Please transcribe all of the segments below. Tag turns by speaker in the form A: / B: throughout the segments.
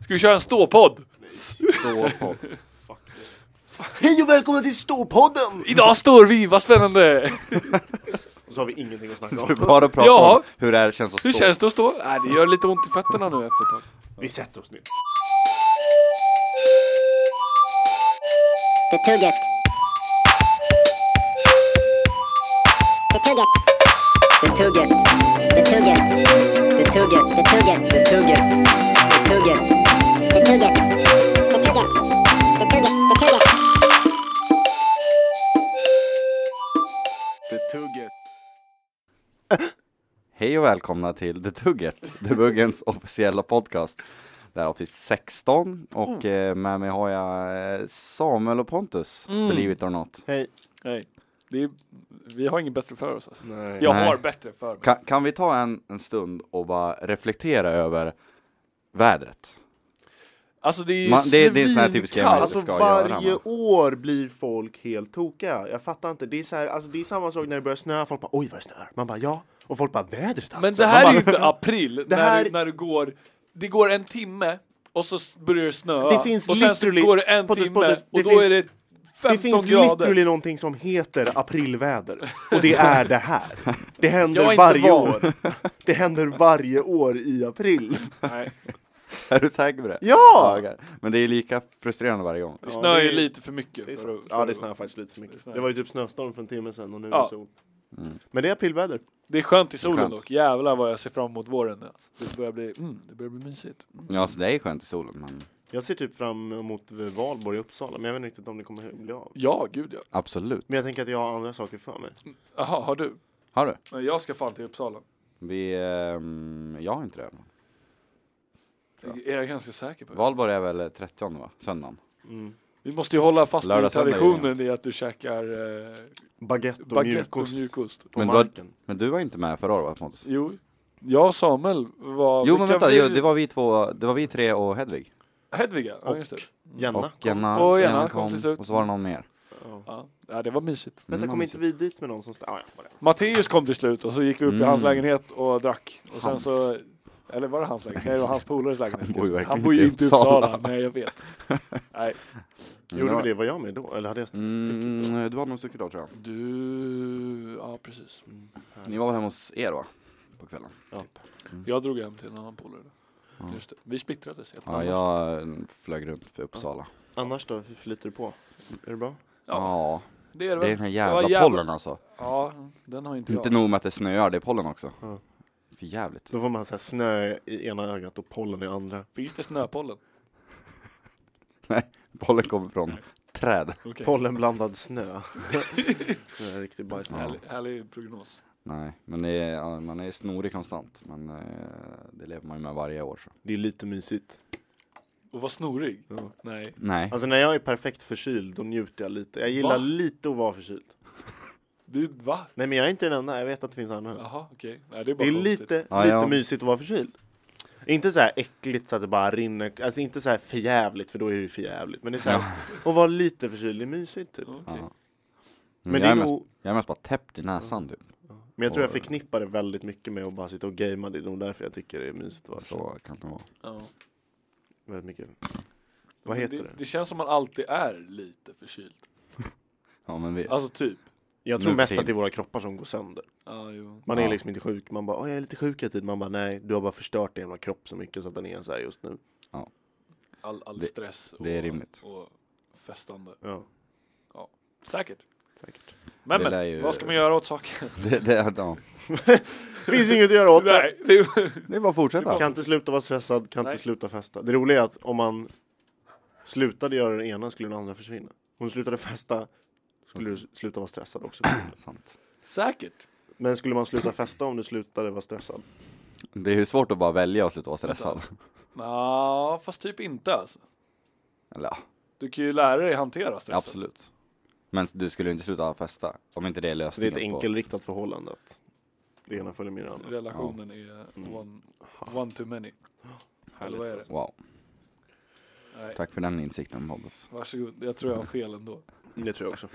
A: Ska vi köra en ståpodd?
B: Ståpodd.
C: Hej och välkomna till Storpodden!
A: Idag står vi, vad spännande!
B: Och så har vi ingenting att snacka
C: Så vi
B: om.
C: bara pratar
A: Jaha.
C: om hur det här känns att stå.
A: Hur känns det att stå? Nej, det gör lite ont i fötterna nu efter ett tag.
B: Vi sätter oss nu.
D: Betugget. Betugget. Betugget. Betugget. Betugget. Betugget. Betugget. Betugget. Betugget. Betugget. Betugget. Betugget.
C: Hej och välkomna till The Tugget, The Buggens officiella podcast. Det här är avsnitt 16
A: Oh.
C: och eh, med mig har jag eh, Samuel och Pontus,
A: Mm.
C: believe it or not.
B: Hej.
A: Nej, det är, vi har inget bättre för oss. Alltså.
B: Nej.
A: Jag
C: Nej.
A: har bättre för mig.
C: Ka kan vi ta en, en stund och bara reflektera över vädret?
A: Alltså det är ju
C: Man- det- det är en sån här typisk grej man-
A: svinkallt.
B: Alltså
C: ska göra,
B: varje
C: men-
B: år blir folk helt tokiga. Jag fattar inte. Det är, så här, alltså, det är samma sak när det börjar snöa. Folk bara oj vad det snöar. Man bara ja. Och folk bara vädret alltså.
A: Men det
B: Man
A: här är ju
B: bara,
A: inte april, när,
B: Det här-
A: du, när du går, det går en timme och så s- börjar det snöa.
B: Det finns
A: och sen så
B: literally-
A: går det en
B: Pontus,
A: timme
B: Pontus,
A: och
B: det
A: då
B: finns-
A: är det 15
B: det finns
A: grader.
B: literally någonting som heter aprilväder. Och det är det här. Det
A: Jag är
B: händer
A: inte
B: varje
A: van.
B: år. Det händer varje år i april.
A: Nej,
C: Är du säker på det?
B: Ja!
C: okej. Men det är lika frustrerande varje gång.
A: det
B: Ja,
A: snöar
B: det
A: ju
B: är-
A: lite för mycket.
B: Det är
A: för
B: sant.
A: att- för
B: Ja, det
A: att-
B: snöar faktiskt lite för mycket.
A: snöar.
B: Det var ju typ snöstorm för en timme sedan och nu är
A: Ja.
B: det sol. Men det är aprilväder.
A: Det är skönt i solen
C: Skönt.
A: dock. Jävlar vad jag ser fram emot våren. nu, Alltså. Det, börjar bli, mm, det börjar bli mysigt.
C: Ja, så det är skönt i solen, men
B: Jag ser typ fram emot Valborg i Uppsala, men jag vet inte riktigt om det kommer bli av.
A: Ja, gud ja.
C: absolut.
B: Men jag tänker att jag har andra saker för mig.
A: Jaha, har du?
C: Har du?
A: Nej, Jag ska fan till Uppsala.
C: Vi, ehm, jag har inte det.
A: Jag är jag ganska säker på.
C: Valborg är väl 30 va? Söndagen?
B: Mm.
A: Vi måste ju hålla fast vid
C: Lördag, söndag är det
A: traditionen i att du käkar eh,
B: Baguette och
A: baguette och
B: mjukost
A: mjukost.
B: på
C: Men vad-
B: marken.
C: Men du var inte med förra året va, Pontus?
A: Jo, jag och Samuel var...
C: Jo men
A: vilka
C: vänta,
A: vi-
C: jo, det var vi två, det var vi tre och Hedvig.
A: Hedviga, ja
B: Och-
A: just det.
B: Jenna.
C: Och Jenna,
A: Och Jenna
C: Jenna
A: kom
C: kom,
A: till slut.
C: och så var det någon mer.
B: Ja.
A: Ja, ja, det var mysigt.
B: Vänta,
C: Mm,
B: kom inte vi dit med någon som... st- Ah, ja, bara det.
A: Matteus kom till slut och så gick vi upp i
C: Mm.
A: hans lägenhet och drack. Och sen
C: Hans.
A: så... Eller var det hans lägenhet? Nej, det var hans polares lägenhet.
C: bor ju verkligen
A: Han bor ju
C: inte
A: inte
C: i
A: i
C: Uppsala.
A: Uppsala. Nej, jag vet. Nej,
C: det
B: Gjorde
C: var-
B: vi det? Var jag med då? Eller hade jag stuckit?
C: Mm, du var nog stuckit då tror jag.
A: du... Ja, precis.
C: Ni var väl hemma hos er va? På kvällen?
A: Jag drog hem till en annan polare.
C: Ja.
A: Just det. Vi splittrades helt
C: Ja, jag eh, flög runt för Uppsala.
B: Annars då? Hur flyter du på? Är det bra?
A: Ja,
C: Ja,
A: det är det
C: det är
A: väl.
C: den här
A: var
C: jävla
A: jävla-
C: pollen alltså.
A: Ja, den har inte jag.
C: Inte nog med att det snöar, det är pollen också.
B: Ja.
C: För jävligt.
B: Då får man så här snö i ena ögat och pollen i andra.
A: Finns det snöpollen?
C: Pollen kommer från träd.
A: Okej.
B: Pollenblandad snö. det är en riktig bajsman.
A: Härlig, härlig prognos.
C: Nej, men det är, ja, man är snorig konstant. Men eh, det lever man ju med varje år så.
B: Det är lite mysigt.
A: Och var snorig?
B: Ja.
A: Nej.
C: Nej.
B: Alltså när jag är perfekt förkyld, då njuter jag lite. Jag gillar
A: Va?
B: lite att vara förkyld.
A: Du, va?
B: Nej men jag är inte den enda, jag vet att det finns andra.
A: Jaha, okej. Nej, det är bara
B: det är
A: konstigt.
B: lite,
C: Ja,
B: lite
C: ja.
B: mysigt att vara förkyld. Inte så här äckligt så att det bara rinner, alltså inte så här förjävligt för då är det ju förjävligt. Men det är så här, att vara lite förkyld, det är mysigt typ.
A: Ja, okej.
C: Ja. Men,
B: Men
C: Mm,
B: det
C: jag, är
B: är
C: mest,
B: nog,
C: jag är mest bara täppt i näsan typ.
B: men jag tror jag
C: och-
B: förknippar det väldigt mycket med att bara sitta och gamea, det är nog därför jag tycker det är mysigt att vara förkyld.
C: Så kan det vara.
A: Ja.
B: Väldigt mycket. Vad
A: Men
B: heter
A: det?
B: det?
A: Det känns som man alltid är lite förkyld.
C: Ja men vi,
A: Alltså typ.
B: Jag
C: Nu
B: tror
C: för
B: mest
C: tiden.
B: att det är våra kroppar som går sönder.
A: Ja, jo.
B: Man
C: Ja.
B: är liksom inte sjuk, man bara "Åh, jag är lite sjuk hela tiden. Man bara nej, du har bara förstört din jävla kropp så mycket så att den är så här just nu.
A: All, all
C: Det-
A: stress och,
C: det är rimligt.
A: och festande.
B: Ja,
A: Säkert.
B: säkert.
A: Men,
C: Det lär
A: men
C: ju-
A: vad ska man göra åt saken?
C: det, det, ja.
B: Finns inget att göra åt det.
A: Nej, det är...
C: det är bara att fortsätta.
B: Kan inte sluta vara stressad, kan
A: Nej.
B: inte sluta festa. Det roliga är att om man slutade göra den ena skulle den andra försvinna. Om du slutade festa skulle du sluta vara stressad också.
C: Sant.
A: Säkert.
B: Men skulle man sluta festa om du slutade vara stressad?
C: Det är ju svårt att bara välja och sluta vara stressad.
A: Nja, fast typ inte alltså.
C: Eller ja,
A: Du kan ju lära dig hantera stressen.
C: absolut. Men du skulle ju inte sluta festa om inte det är
B: Så det är
C: lösningen.
B: ett enkelriktat förhållande. Att det ena följer med det andra.
A: Relationen är
B: Mm.
A: one, one too many. Eller vad är det?
C: På... Wow,
A: Nej,
C: tack för den insikten Pontus.
A: varsågod. Jag tror jag har fel ändå.
B: Det tror jag också.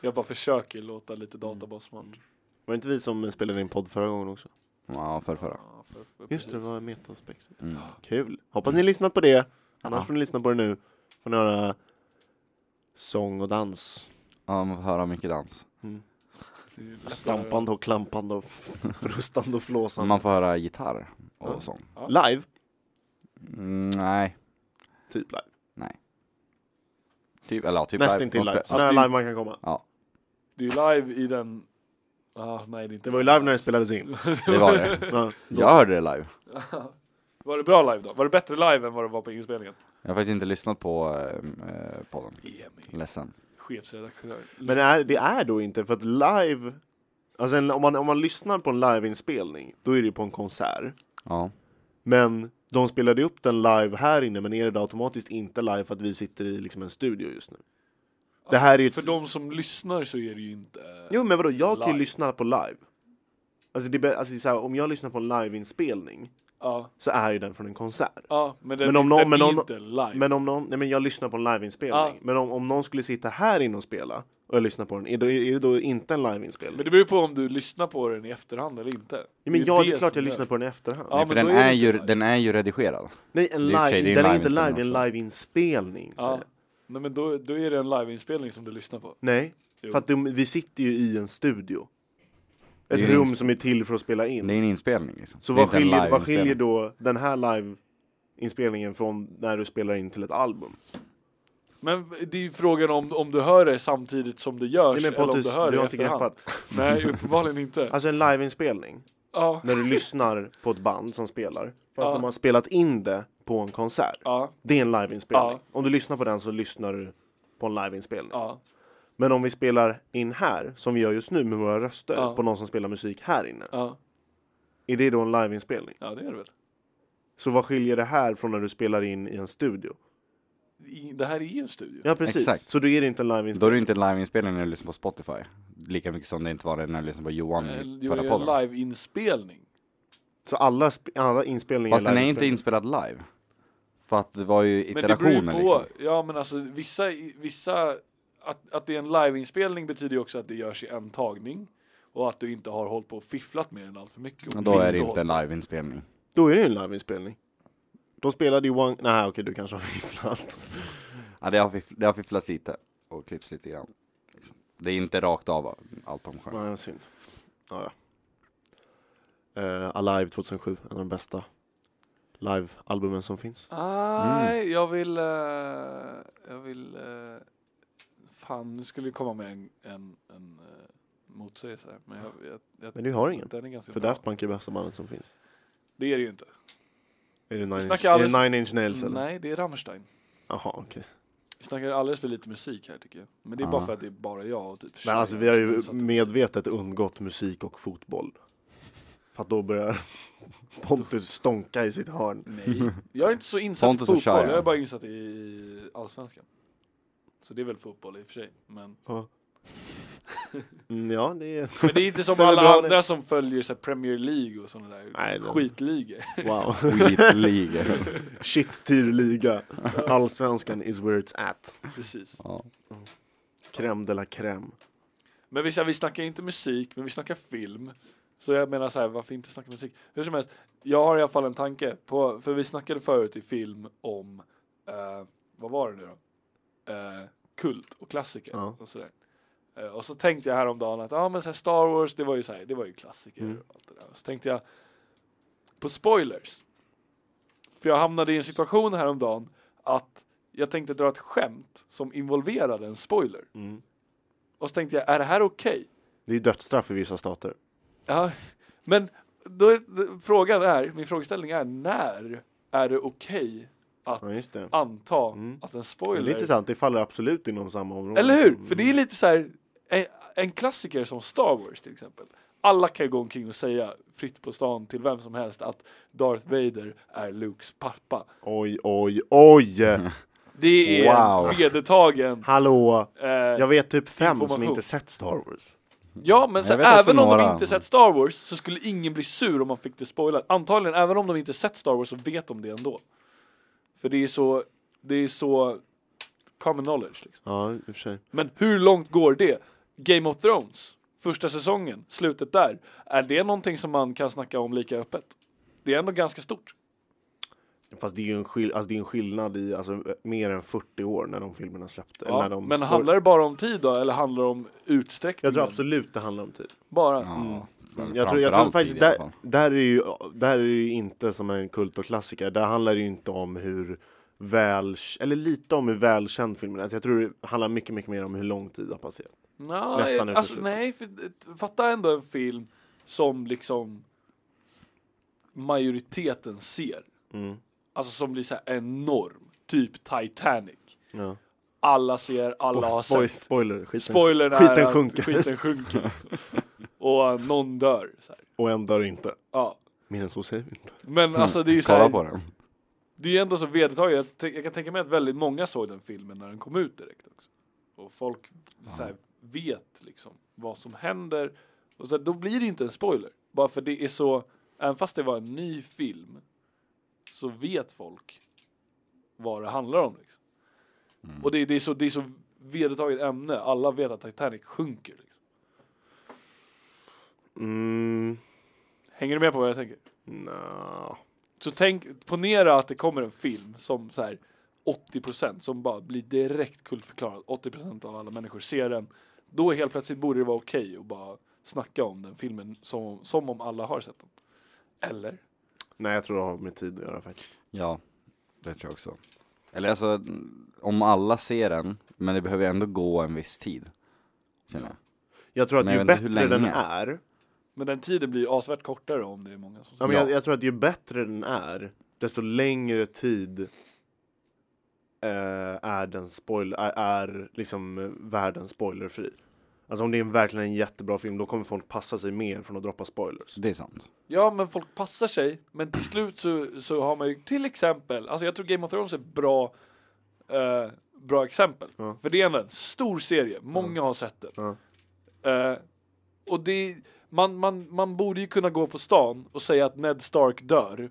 A: Jag bara försöker låta lite databasmart.
B: Mm. Var det inte vi som spelade in podd förra gången också?
C: Ja, för förra.
A: Ja, för- för-
B: Just det, det var metaspexet.
C: Mm.
B: Kul. Hoppas ni har lyssnat på det. Annars
C: Ja.
B: får ni lyssna på det nu. Får ni höra sång och dans.
C: Ja, man får höra mycket dans.
A: det är ju lättare-
B: Stampande och klampande och f- frustande och flåsande.
C: Man får höra gitarr och
B: Ja.
C: sång.
B: Live?
C: Mm, nej,
B: Typ live.
C: typ, eller ja, typ live.
B: Nästintill
C: De
B: live.
C: spe-
B: Så nära
A: Alltså,
B: live man kan komma.
A: Det är ju live i den... Ah, nej, det är inte
B: Det var ju live när det spelades in.
C: Det var det.
B: Ja, då-
C: Jag hörde det live.
A: Var det bra live då? Var det bättre live än vad det var på inspelningen?
C: Jag har faktiskt inte lyssnat på eh, eh, podden. Ledsen.
A: Chefsredaktör.
B: Men det är, det är då inte, för att live... Alltså en, om, man, om man lyssnar på en liveinspelning, då är det ju på en konsert.
C: Ja.
B: Men de spelade upp den live här inne, men är det automatiskt inte live för att vi sitter i liksom en studio just nu? Det här är ju ett...
A: För de som lyssnar så är det ju inte...
B: Jo men vadå, jag kan ju
A: Live.
B: lyssna på live. Alltså, det, är bä- alltså så här, om jag lyssnar på en liveinspelning
A: Ja,
B: så är ju den från en konsert.
A: ja men den,
B: Men om
A: den
B: någon- men
A: är
B: om-
A: inte live.
B: Men om någon, nej men jag lyssnar på en liveinspelning.
A: Ja.
B: Men om, om någon skulle sitta här inne och spela och jag lyssnar på den, är, då, är det då inte en liveinspelning?
A: Men det beror ju på om du lyssnar på den i efterhand eller inte.
B: Ja, men jag, det är klart
A: som
B: jag lyssnar på den i efterhand.
A: Ja,
C: Nej, för
A: men
C: den
A: då är det
C: är,
A: inte
C: ju,
A: live.
C: den är ju redigerad.
B: Nej, en
C: Det är i och för sig, det
B: live,
C: är en
B: den är inte live, det är
C: liveinspelning
B: en liveinspelning. säger
A: Ja.
B: jag.
A: Nej, men då, då är det en liveinspelning som du lyssnar på.
B: Nej,
A: Jo.
B: för att de, vi sitter ju i en studio.
C: är
B: Ett
C: ju
B: rum
C: ins-
B: som är till för att spela
C: Det
B: in.
C: är en inspelning liksom.
B: Så
C: Det är
B: vad
C: inte en
B: skiljer, vad
C: liveinspelning.
B: skiljer då den här liveinspelningen från när du spelar in till ett album?
A: Men det är ju frågan om, om du hör det samtidigt som det görs
B: Nej, men
A: eller om
B: Pontus,
A: du
B: du
A: hör det
B: har
A: i
B: inte
A: efterhand.
B: greppat.
A: Nej, uppenbarligen inte.
B: Alltså en liveinspelning,
A: Ja,
B: när du lyssnar på ett band som spelar, fast
A: Ja.
B: de har spelat in det på en konsert.
A: ja,
B: Det är en liveinspelning.
A: Ja.
B: Om du lyssnar på den så lyssnar du på en liveinspelning.
A: ja.
B: Men om vi spelar in här, som vi gör just nu med våra röster,
A: Ja.
B: på någon som spelar musik här inne.
A: Ja,
B: Är det då en liveinspelning?
A: ja det är det väl.
B: Så vad skiljer det här från när du spelar in i en studio?
A: I- Det här är ju en studio.
B: Ja precis,
C: Exakt.
B: så då är det inte en
C: Då är
B: liveinspelning.
C: det inte en liveinspelning när du lyssnar på Spotify. Lika mycket som det inte var det när du lyssnade på Johan
A: Eh,
C: i
A: Jo, det
C: förra
A: är en
C: podden.
A: liveinspelning.
B: Så alla, sp- alla inspelningar
C: Fast den är inte
B: liveinspelningar.
C: inspelad live. För att det var ju
A: Men det beror ju
C: iterationer
A: på.
C: liksom.
A: Ja, men alltså vissa, vissa att, att det är en liveinspelning betyder ju också att det görs i en tagning och att du inte har hållit på och fifflat med den allt för mycket.
C: Och
A: och
C: Då är det
A: klippt och
C: inte en liveinspelning.
B: Då är det ju en liveinspelning. De spelade ju One... Nej okej, du kanske har fifflat.
C: Ja, det har, fiff- det har fifflats lite och klippts lite grann. Liksom. Det är inte rakt av allt de sjöng.
B: Nej, vad synd. Ja, ja. Eh, Alive 2007, en av de bästa live-albumen som finns.
A: Nej, jag vill... eh, jag vill... eh, fan, nu skulle jag komma med en, en, en eh, motsägelse. här, Men, jag, jag, jag,
B: Men du har ingen.
A: Den är ganska
B: För
A: bra.
B: Daft Punk är det bästa bandet som finns.
A: Det är det ju inte.
B: Är det Nine, Inch,
A: snackar
B: är
A: alldeles-
B: det nine inch Nails eller?
A: Nej, det är Rammstein.
B: Jaha, okej.
A: Vi snackar alldeles för lite musik här tycker jag. Men det är bara
C: Ja.
A: för att det är bara jag och typ
B: Ah. Men
A: tjejer
B: alltså vi har ju
A: som-
B: medvetet undgått musik och fotboll. För att då börjar Pontus stonka i sitt hörn.
A: Nej, jag är inte så insatt i
C: Pontus och
A: fotboll.
C: Shire.
A: Jag är bara insatt i allsvenskan. Så det är väl fotboll i och för sig. Men,
B: Mm, ja, det är...
A: men det är inte som
B: Stämmer
A: alla
B: bra nu.
A: andra som följer så här, Premier League och sådana där
B: Nej, det-
A: skitligor.
B: Wow.
C: Skitliga.
B: Shit liga. Allsvenskan is where it's at.
A: Precis.
B: Mm.
C: ja.
B: Crème de la crème.
A: Men vi, så här, vi snackar inte musik, men vi snackar film. Så jag menar så här, varför inte snacka musik? Hur som helst, jag har i alla fall en tanke. På, för vi snackade förut i film om, eh, vad var det nu då? Eh, kult och klassiker
B: Ja.
A: och sådär. Eh, och så tänkte jag häromdagen att, ja ah, men så här Star Wars, det var ju så här, det var ju klassiker
B: Mm.
A: och allt det där. Och så tänkte jag på spoilers. För jag hamnade i en situation häromdagen att jag tänkte dra ett skämt som involverade en spoiler.
B: Mm.
A: Och så tänkte jag, är det här okej?
B: Det är ju dödsstraff i vissa stater.
A: Ja, men då är, d- frågan är, min frågeställning är när är det okej att
B: Ja, just det.
A: anta
B: Mm.
A: att en
B: Det är
A: spoiler...
B: intressant, Mm. det faller absolut inom samma område.
A: Eller hur?
B: som-
A: För det är lite så här, en, en klassiker som Star Wars till exempel. Alla kan ju gå omkring och säga fritt på stan till vem som helst att Darth Vader är Lukes pappa.
B: Oj, oj, oj!
A: Det är
C: Wow.
A: en vedertagen...
B: Hallå!
A: Eh,
B: Jag vet typ fem som
A: Information.
B: inte sett Star Wars.
A: Ja, men så,
C: Jag vet också
A: även om de
C: några.
A: inte sett Star Wars så skulle ingen bli sur om man fick det spoilat. Antagligen, även om de inte sett Star Wars så vet de det ändå. För det är så, det är så common knowledge. Liksom.
B: Ja, i och för sig.
A: Men hur långt går det? Game of Thrones första säsongen, slutet där. Är det någonting som man kan snacka om lika öppet? Det är ändå ganska stort.
B: Fast det är ju en, skill- alltså det är en skillnad i alltså, mer än 40 år när de filmerna släppte.
A: Ja,
B: när de
A: men
B: spår-
A: handlar det bara om tid då, eller handlar det om utsträckningen?
B: Jag tror absolut det handlar om tid.
A: Bara.
C: Ja, mm.
B: Jag tror, jag tror faktiskt där, där, är ju, där är det ju inte som en kulturklassiker. Där handlar det ju inte om hur väl, eller lite om hur välkänd filmen är. Alltså jag tror det handlar mycket, mycket mer om hur lång tid har passerat.
A: Nå,
B: Nästan
A: eh, alltså,
B: uteslutet.
A: nej, för, eh, fatta ändå en film som liksom majoriteten ser.
B: Mm.
A: Alltså som blir så här enorm. Typ Titanic.
B: Ja.
A: Alla ser, alla har
B: Spoil-
A: sett.
B: spoiler, skiten,
A: Spoilern är
B: skiten
A: att
B: sjunker.
A: skiten sjunker. liksom. Och eh, någon dör. Så här.
B: Och en dör inte.
A: Ja.
B: Mer än så säger vi inte.
A: Men alltså det är ju så
C: Kolla
A: här,
C: på den.
A: Det är ju ändå så vedertaget. Jag, tänk- jag kan tänka mig att väldigt många såg den filmen när den kom ut direkt också. Och folk så här, vet liksom vad som händer. Och så här, då blir det inte en spoiler. Bara för det är så, även fast det var en ny film så vet folk vad det handlar om. Liksom. Och det, det, är så, det är så vedertaget ämne. Alla vet att Titanic sjunker. Liksom.
B: Mm,
A: Hänger du med på vad jag tänker?
B: nja.
A: Så tänk, ponera att det kommer en film som så här 80% som bara blir direkt kultförklarad. 80% av alla människor ser den. Då helt plötsligt borde det vara okej att bara snacka om den filmen som, som om alla har sett den. Eller?
B: Nej, jag tror det har med tid att göra faktiskt.
C: Ja, det tror jag också. Eller alltså, mm, om alla ser den, men det behöver ändå gå en viss tid. Känner jag.
B: Jag tror att
C: Men
B: ju
C: jag vet inte
B: bättre
C: hur
B: den
C: länge.
B: är,
A: Men den tiden blir ju avsevärt kortare om det är många som ser
B: ja, men
C: Ja.
B: Jag, jag tror att ju bättre den är, desto längre tid eh, är, den spoil- är, är liksom eh, världen spoilerfri. Alltså om det är en- verkligen en jättebra film, då kommer folk passa sig mer från att droppa spoilers.
C: Så det är sant.
A: Ja, men folk passar sig. Men till slut så, så har man ju till exempel, alltså jag tror Game of Thrones är ett bra, eh, bra exempel.
B: Ja.
A: För det är en stor serie, många har sett den.
B: Ja.
A: Eh, och det, man, man, man borde ju kunna gå på stan och säga att Ned Stark dör.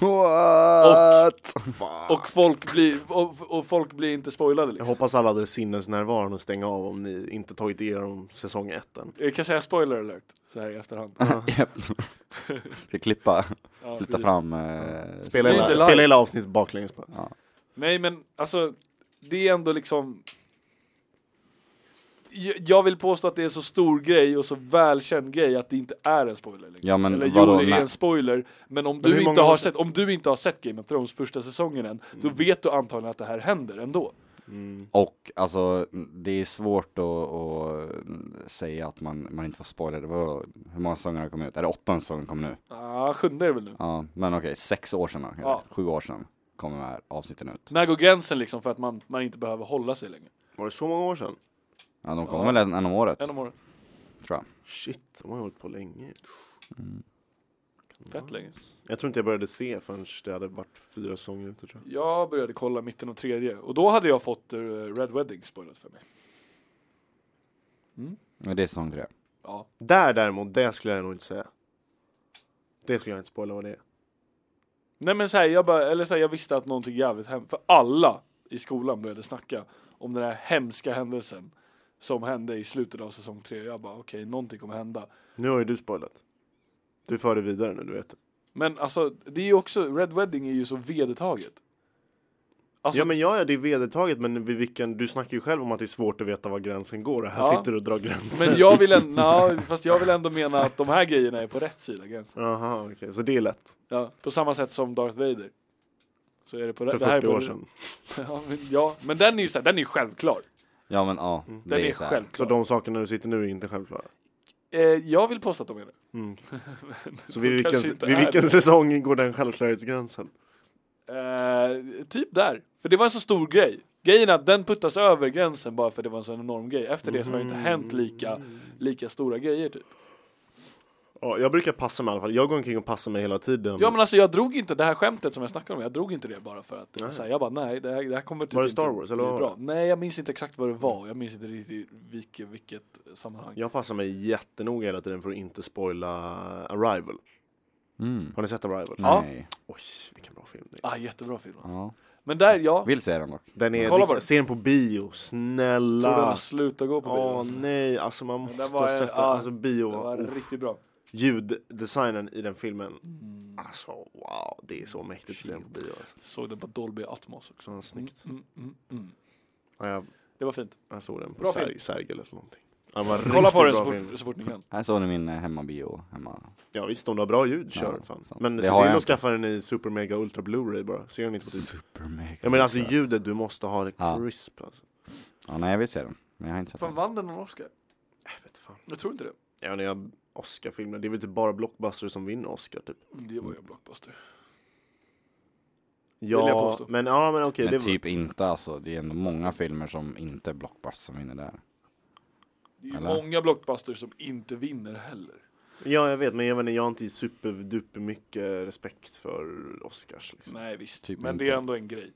C: What?
B: Fan.
A: Och folk blir, och, och folk blir inte spoilade
B: Jag
A: liksom.
B: hoppas alla hade sinnesnärvaron att stänga av om ni inte tagit igenom säsong 1 än.
A: Jag kan säga spoiler alert, så här i efterhand.
C: Japp. Ska klippa,
A: Ja,
C: flytta
A: precis.
C: fram. Eh,
B: Spela
A: Det är
B: hela,
A: inte live.
B: spela hela avsnittet baklänges bara.
A: Nej men alltså, det är ändå liksom J- jag vill påstå att det är så stor grej och så välkänd grej att det inte är en spoiler längre.
C: Ja, men
A: Eller
C: vadå,
A: jo, det är
C: nej.
A: en spoiler, men om,
B: hur
A: du inte
B: många år
A: har
B: sedan? Mm.
A: sett, om du inte har sett Game of Thrones första säsongen än, då vet du antagligen att det här händer ändå.
C: Och alltså, det är svårt att, att säga att man, man inte får spoila. Det var, hur många säsonger har kommit ut? Är det åttonde säsongen kommer nu?
A: Ah, sjunde är det väl nu.
C: Ja, men okej, sex år sedan, eller
A: Ja.
C: sju år sedan kommer de här avsnitten ut.
A: När går gränsen liksom för att man, man inte behöver hålla sig längre?
B: Var det så många år sedan?
C: Ja, de
A: Ja.
C: kommer väl en, en om året,
A: En om året.
C: tror jag.
B: Shit, de har hållit på länge.
A: Fett länge.
B: Jag tror inte jag började se förrän det hade varit fyra säsonger ute tror jag.
A: Jag började kolla mitten av tredje och då hade jag fått eh, Red Wedding spoilat för mig.
C: Ja, Det är säsong tre.
A: Ja,
B: Där däremot, det skulle jag nog inte säga. Det skulle jag inte spoila vad det är.
A: Nej men såhär, jag, bara, eller så här, jag visste att någonting jävligt hemskt, för alla i skolan började snacka om den här hemska händelsen som hände i slutet av säsong tre. Jag bara okej, någonting kommer hända.
B: Nu har ju du spoilat. Du för det vidare nu, du vet.
A: Men alltså, det är ju också, Red Wedding är ju så vedertaget. Alltså,
B: ja men ja, ja, det är vedertaget men vid vilken, du snackar ju själv om att det är svårt att veta var gränsen går och här
A: Ja.
B: sitter du och drar gränser.
A: men jag vill ändå, no, fast jag vill ändå mena att de här grejerna är på rätt sida gränsen.
B: Aha, okej, så det är lätt.
A: Ja, på samma sätt som Darth Vader. Så är det på
B: För
A: rätt, det här är
B: 40
A: på
B: år
A: rätt-
B: sedan.
A: Ja men, ja, men den är ju såhär, den är ju självklar.
C: Ja men ja, det
A: Den är,
C: är, så här.
B: Så
A: självklar.
B: de sakerna du sitter nu är inte självklara.
A: Eh, jag vill påstå att de är det.
B: Mm.
A: Men de
B: Så vid vilken,
A: kanske inte
B: vid
A: är
B: vilken
A: det.
B: säsong går den självklarhetsgränsen?
A: Eh, typ där. För det var en så stor grej. Grejen är att den puttas över gränsen bara för det var en sån enorm grej. Efter det så har det inte hänt lika, lika stora grejer typ.
B: Ja, jag brukar passa mig i alla fall. Jag går omkring och passar mig hela tiden.
A: Ja men alltså jag drog inte det här skämtet som jag snackade om, jag drog inte det bara för att det var
B: Nej.
A: så här, jag bara nej det här, det här kommer typ
B: Var det
A: inte
B: Star Wars, eller
A: bli
B: vad
A: bra.
B: var
A: Nej jag minns inte exakt vad det var, jag minns inte riktigt vilket, vilket sammanhang.
B: Jag passar mig jättenoga hela tiden för att inte spoila Arrival.
C: Mm.
B: Har ni sett Arrival?
A: Ja.
C: Nej.
B: Oj, vilken bra film det är.
A: Ah jättebra film alltså.
C: Ja.
A: Men där, ja.
C: Vill se den dock.
B: Den är,
A: Kolla på den.
B: se den på bio,
A: Tror den har
B: snälla!
A: slutat gå på bio.
B: Åh nej, alltså man
A: den
B: måste
A: var
B: ha
A: en-
B: sett den,
A: ja,
B: alltså bio,
A: det var
B: oh,
A: riktigt bra. Mm.
B: ljuddesignen i den filmen, alltså wow, det är så mäktigt att se den på bio alltså.
A: Såg den på Dolby Atmos också.
B: Så snyggt.
A: Mm, mm, mm.
B: Ja, jag,
A: Det var fint.
B: jag såg den på
A: Bra film.
B: Serg- Sergel eller någonting. Ja, den var
A: Kolla
B: riktigt
A: på den
B: bra
A: så
B: film.
A: fort, så fort ni kan.
C: Här såg ni min eh, hemmabio hemma.
B: Ja visst, om du har bra ljud, kör
C: Ja,
B: den fan.
C: fan.
B: Men
C: Det
B: se
C: har
B: till
C: jag
B: att
C: inte.
B: skaffa den i Super Mega Ultra Blu-ray bara. Ser den inte på typ.
C: Super mega.
B: Ja men alltså ljudet, du måste ha det
C: Ja.
B: crisp alltså.
C: Ja, nej jag vill se den. Men jag har inte sett
A: Fan,
C: den.
A: vann den någon Oscar?
B: Jag vet fan.
A: Jag tror inte det.
B: Ja men jag Oscar-filmer, det är väl typ bara blockbusters som vinner Oscar typ.
A: Det var ju en blockbuster. Vill jag
B: Ja,
A: påstå.
B: men ja men okej.
C: Men
B: det var...
C: typ inte alltså. Det är ändå många filmer som inte är blockbusters som vinner där.
A: Det är ju
C: Eller?
A: många blockbusters som inte vinner heller.
B: Ja jag vet, men jag menar jag har inte superduper mycket respekt för Oscars liksom.
A: Nej visst,
C: Typ
A: men
C: inte.
A: det är ändå en grej.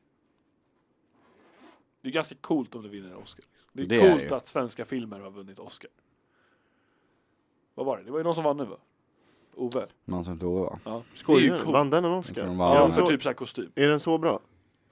A: Det är ganska coolt om du vinner en Oscar. liksom. Det är
C: Det är
A: coolt
C: det ju.
A: att svenska filmer har vunnit Oscar. Vad var det? Det var ju någon som vann nu va? Ove?
C: Någon som tog va?
A: Ja.
B: Skojar
A: Det
B: du?
A: är ju coolt.
B: Vann den en
C: Jag
B: Oscar?
C: tror den vann
B: är,
A: Ja,
B: den
C: den.
A: för
B: så,
A: typ såhär kostym.
B: är den så bra?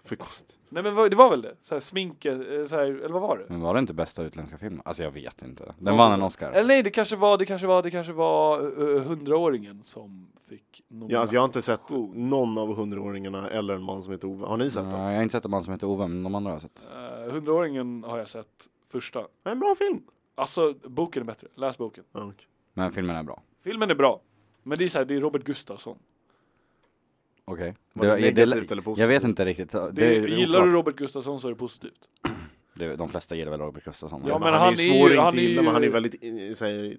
B: För kost.
A: Nej men vad- det var väl det? Såhär sminke, eh, såhär, eller vad var det?
C: Men var det inte bästa utländska film? Alltså jag vet inte. Den
A: Någon
C: vann
A: som
C: en
A: vann.
C: Oscar.
A: Eller nej, det kanske var, det kanske var, det kanske var eh, eh, hundraåringen som fick
B: Ja, alltså jag har inte sett
A: Cool.
B: någon av hundraåringarna eller en man som heter Ove. Har ni sett
C: Nej,
B: den?
C: jag har inte sett en man som heter Ove, men de andra har jag sett.
A: Eh, hundraåringen har jag sett första.
B: Det är en bra film!
A: Alltså boken är bättre, läs boken.
B: Ja, okej.
C: Men filmen är bra.
A: Filmen är bra. Men det är såhär, det är Robert Gustafsson.
C: Okej.
B: Var det negativt eller positivt?
C: Jag vet inte riktigt. Det,
A: Det
C: är
A: gillar du
C: oklart.
A: Robert Gustafsson så är det positivt.
C: Det- De flesta gillar väl Robert Gustafsson?
A: Ja,
C: eller?
A: men han
B: är
A: är
B: ju svår
A: ju-
B: att
A: han
B: inte
A: är
B: gilla,
A: ju-
B: men han är väldigt in- säger,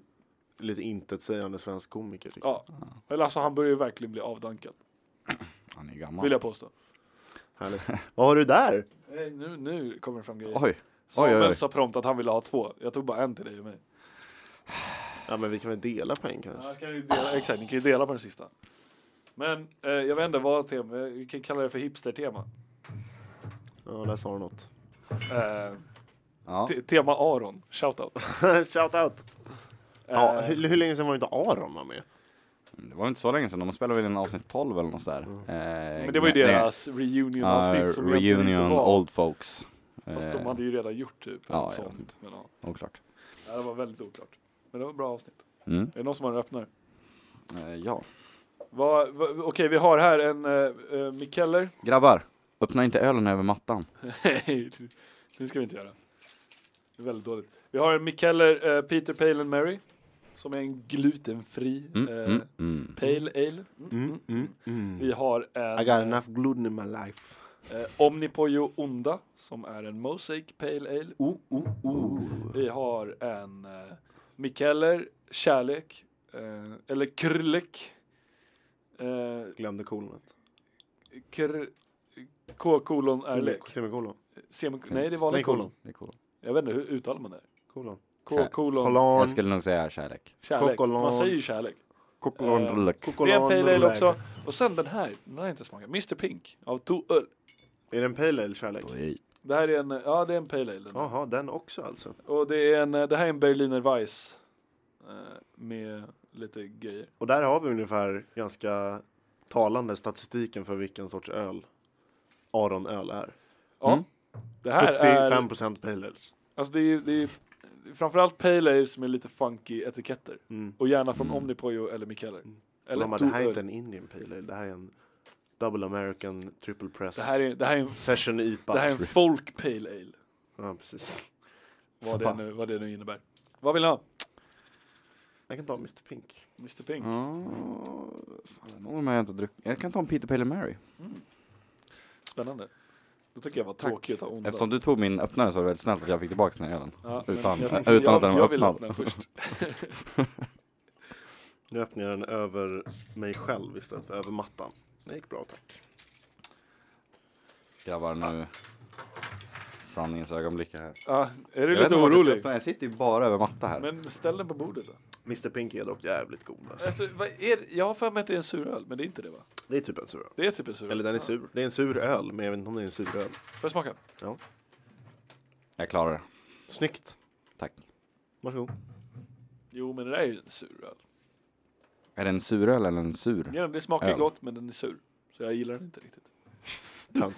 B: lite intetsägande svensk komiker. tycker jag.
A: Ja. Eller alltså han börjar ju verkligen bli avdankad,
C: Han är ju gammal.
A: vill jag påstå.
B: Härligt. Vad har du där?
A: Nej, nu, nu kommer det fram grejer.
C: Oj. oj,
A: Samuel
C: oj.
A: sa prompt att han ville ha två. Jag tog bara en till dig och mig.
B: Ja, men vi kan väl dela på en kanske?
A: Annars kan vi dela, exakt, ni kan ju dela på den sista. Men eh, jag vet inte vad tema, vi kan kalla det för hipstertema.
B: Ja, där sa du något.
A: Eh,
C: Ja.
A: te- tema Aron, shoutout. Eh,
B: Shout out! Ja, hur, hur länge sedan var inte Aron var med?
C: Det var inte så länge sedan, de spelade väl in avsnitt 12 eller något där. Eh,
A: Mm. men det var ju
C: nej,
A: deras reunion-avsnitt
C: Ja,
A: som egentligen inte
C: reunion
A: var.
C: Old Folks.
A: Fast de
C: Eh,
A: hade ju redan gjort typ en
C: ja, jag vet
A: sån.
C: inte.
A: Men, ja.
C: Oklart.
A: Ja, Det var väldigt oklart. Men det var ett bra avsnitt.
C: Mm.
A: Är det någon som har en öppnare?
C: Eh, ja.
A: Vad- vad- Okej, vi har här en eh, eh, Mikeller.
C: Grabbar, öppna inte ölen över mattan.
A: Nej, det ska vi inte göra. Det är väldigt dåligt. Vi har en Mikeller eh, Peter Pale and Mary. Som är en glutenfri
C: Mm,
A: eh,
C: mm, mm.
A: Pale Ale.
B: Mm, mm,
A: Vi
B: mm.
A: har
B: I
A: en
B: got enough gluten in my life.
A: eh, Omnipojo Onda som är en Mosaic Pale Ale.
B: Oh, oh, oh.
A: Vi har en eh, Mikeller Kärlek. Eh, eller Krlek. Eh,
B: Glömde kolonet.
A: kr, K-kolon är lek.
B: Semi- Semikolon.
A: Semi- nej, det var
B: Nej,
A: en kolon.
B: kolon.
C: Det är coolt.
A: Jag vet inte, hur uttalar man det?
B: Kolon.
A: K-kolon
B: Kolon.
C: Jag skulle nog säga kärlek.
A: Kärlek.
B: Kokolon.
A: Man säger ju kärlek.
B: Kokolon.
A: Eh,
C: Luck.
A: Det är en pale ale
B: Kokolon.
A: också. Och sen den här, den har jag inte smakat. Mr Pink av To Öl.
B: Är det en pale ale, kärlek?
C: Oj.
A: Det här är en, ja det är en pale ale. den här.
B: Jaha, den också alltså.
A: Och det är en, det här är en Berliner Weiss. eh, Med lite grejer.
B: Och där har vi ungefär ganska talande statistiken för vilken sorts öl Aronöl är.
A: Ja.
C: Mm.
A: Det här är,
B: 75% pale ales.
A: alltså det är, det är framförallt pale ales med lite funky etiketter.
B: Mm.
A: Och gärna från
C: Mm.
A: Omnipojo eller Mikeller.
B: Mm.
A: Eller
B: de bara,
A: To
B: det här är
A: Öl.
B: inte en Indian pale ale, det här är en double American triple press
A: Det här är, det här är en,
B: session IPA.
A: det här är en folk pale ale.
B: Ja, precis.
A: Vad det,
C: Fan.
A: nu, vad det nu innebär. Vad vill ni ha?
B: Jag kan ta Mr Pink.
A: Mr Pink.
C: Ja, fan, någon av dem har jag inte druckit. Jag kan ta en Peter Pale and Mary.
A: Spännande. Då tycker jag var
C: Tack.
A: tråkigt att ta onda.
C: Eftersom du tog min öppnare så var det väldigt snällt att jag fick tillbaka den här ölen.
A: Ja, men
C: utan-
A: jag
C: äh,
A: tycker-
C: utan
A: jag-
C: att den var
A: jag vill
C: öppnad.
A: öppna först.
B: Nu öppnar jag den över mig själv istället för över mattan. Det gick bra tack.
C: Grabbar, nu. Sanningens ögonblick är här.
A: Ja, är du
C: Jag vet
A: lite
C: inte vart jag ska
A: orolig?
C: öppna, Jag sitter ju bara över matta här.
A: Men ställ den på bordet då.
B: Mr Pink är dock jävligt god alltså.
A: Alltså, vad är, jag har för mig att det är en suröl, men det är inte det va?
B: Det är typ en sur öl.
A: Det är typ en suröl.
B: Eller den är sur. Det är en sur öl, men jag vet inte om det är en sur öl.
A: Ja. Får jag smaka?
B: Ja.
C: Jag klarar det.
B: Snyggt.
C: Tack.
B: Varsågod.
A: Jo, men det där är ju en suröl.
C: Är det en suröl eller en sur?
A: Ja, det smakar
C: Öl.
A: gott, men den är sur. Så jag gillar den inte riktigt.
B: Tönt.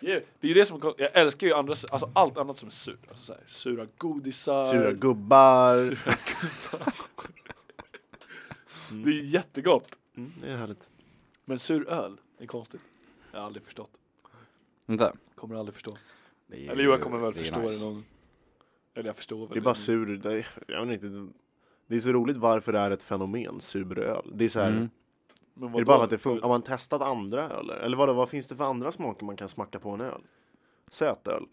A: Det är det, är ju det som, jag älskar ju andra, alltså allt annat som är surt. Alltså så här, sura godisar.
B: Sura gubbar.
A: sura gubbar. Det är jättegott.
B: Mm, det är härligt.
A: Men sur öl är konstigt. Jag har aldrig förstått.
C: Inte?
A: Kommer aldrig förstå.
C: Det är ju-
A: Eller jo, jag kommer väl
C: är
A: förstå
C: nice.
A: det någon Eller jag förstår väl.
B: Det är bara
A: men-
B: sur, det är, jag vet inte. Det är så roligt varför det är ett fenomen, sur öl. Det är så här,
C: Mm.
A: Men
B: är det
A: vadå?
B: bara för att det funkar? Har man testat andra öl? Eller vad, vad finns det för andra smaker man kan smacka på en öl? Sötöl?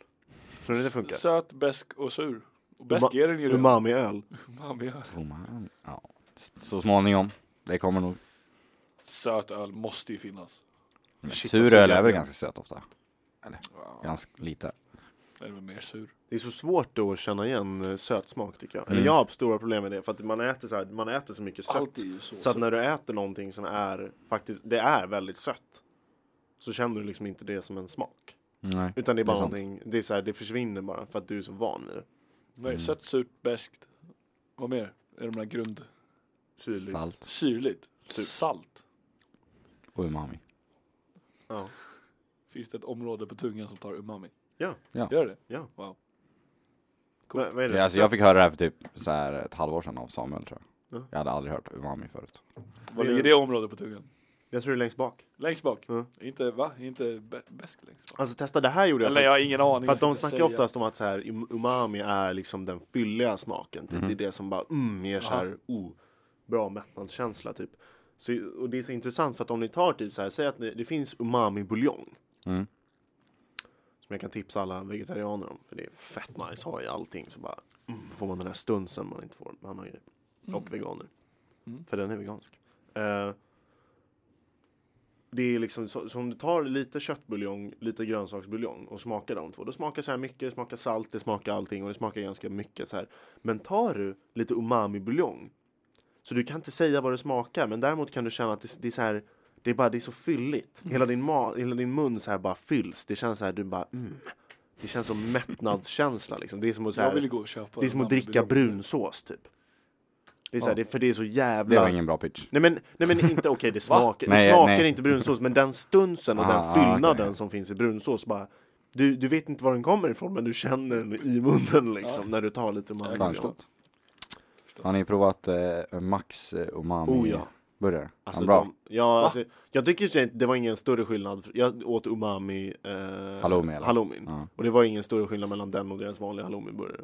B: Tror ni det funkar?
A: Söt, besk och sur. Och besk
B: Uma-
A: är den ju redan.
B: Umami-öl?
A: Umami öl.
C: Roman. Oh, Ja. Så småningom. Det kommer nog.
A: Söt öl måste ju finnas.
C: Men
B: Shit,
C: sur
B: alltså,
C: öl är väl
B: jävlar.
C: ganska söt ofta? Ganska lite.
A: Eller mer sur.
B: Det är så svårt då att känna igen eh, sötsmak tycker jag. Eller
C: Mm.
B: jag har stora problem med det för att man äter så, här, man äter så mycket sött.
A: Allt är ju så.
B: Så att när du äter någonting som är faktiskt, det är väldigt sött. Så känner du liksom inte det som en smak.
C: Nej.
B: Utan det är
C: Det är
B: bara
C: sant.
B: någonting, det är så här, det försvinner bara för att du är så van vid det.
A: Vad är det? Sött, surt, beskt. Vad mer? Är de där grund...
B: Syrligt.
C: Salt
A: Syrligt?
B: Surt.
A: Salt?
C: och umami.
B: Ja.
A: Finns det ett område på tungan som tar umami?
B: Ja.
C: Ja.
A: Gör det?
B: Ja.
A: Wow. Coolt.
B: Men, vad är det?
C: Ja, alltså, jag fick höra det här för typ så här ett halvår sedan av Samuel tror jag.
B: Ja.
C: Jag hade aldrig hört umami förut.
A: Vad
B: Det-
A: ligger det området på tungan?
B: jag tror det är längst bak.
A: Längst bak?
B: Ja.
A: Inte, va? Inte be- bäst längst bak?
B: Alltså testa, det här gjorde jag
A: Eller
B: faktiskt.
A: jag har ingen aning.
B: För att de
A: vad jag
B: snackar
A: ska
B: ju
A: säga.
B: oftast om att så här, um- umami är liksom den fylliga smaken. Typ. Det är det som bara mm, ger så här, oh, bra mättnadskänsla typ. Så, och det är så intressant för att om ni tar typ så här, säg att ni, det finns umami-buljong.
C: Mm.
B: Som jag kan tipsa alla vegetarianer om. För det är fett nice, har i allting. Så bara mm, får man den här stunsen man inte får med andra grejer. Och veganer.
A: Mm.
B: För den är vegansk. Eh, det är liksom så, så om du tar lite köttbuljong, lite grönsaksbuljong och smakar de två. Då smakar så här mycket, det smakar salt, det smakar allting och det smakar ganska mycket så här. Men tar du lite umami-buljong. Så du kan inte säga vad det smakar, men däremot kan du känna att det, det är så här. Det är bara, det är så fylligt. Hela din, ma- hela din mun så här bara fylls. Det känns så här, du bara mm. Det känns som mättnadskänsla liksom. Det är som att, så
A: Jag vill ju
B: här,
A: gå och köpa
B: det är som att
A: umami
B: dricka
A: buljong.
B: brunsås typ. Det är så här,
C: Ja.
B: det, för det är så
C: Det var
B: jävla
C: ingen bra pitch.
B: Nej men, nej men inte okej, det smakar, det
C: Nej,
B: smakar
C: nej.
B: inte brunsås, men den stunsen och
C: Ah,
B: den
C: ah,
B: fyllnaden
C: okej.
B: som finns i brunsås bara du, du vet inte var den kommer ifrån men du känner den i munnen liksom när du tar lite
A: Jag kan
B: umami.
C: Fan, Har ni provat eh, Max eh, umami
B: Oh ja.
C: burgare?
B: Alltså,
C: bra.
B: de, ja, alltså, jag tycker inte- det var ingen större skillnad, jag åt umami eh,
C: Halloumi, eller?
B: halloumin.
C: Ja.
B: Och det var ingen större skillnad mellan den och deras vanliga halloumiburgare.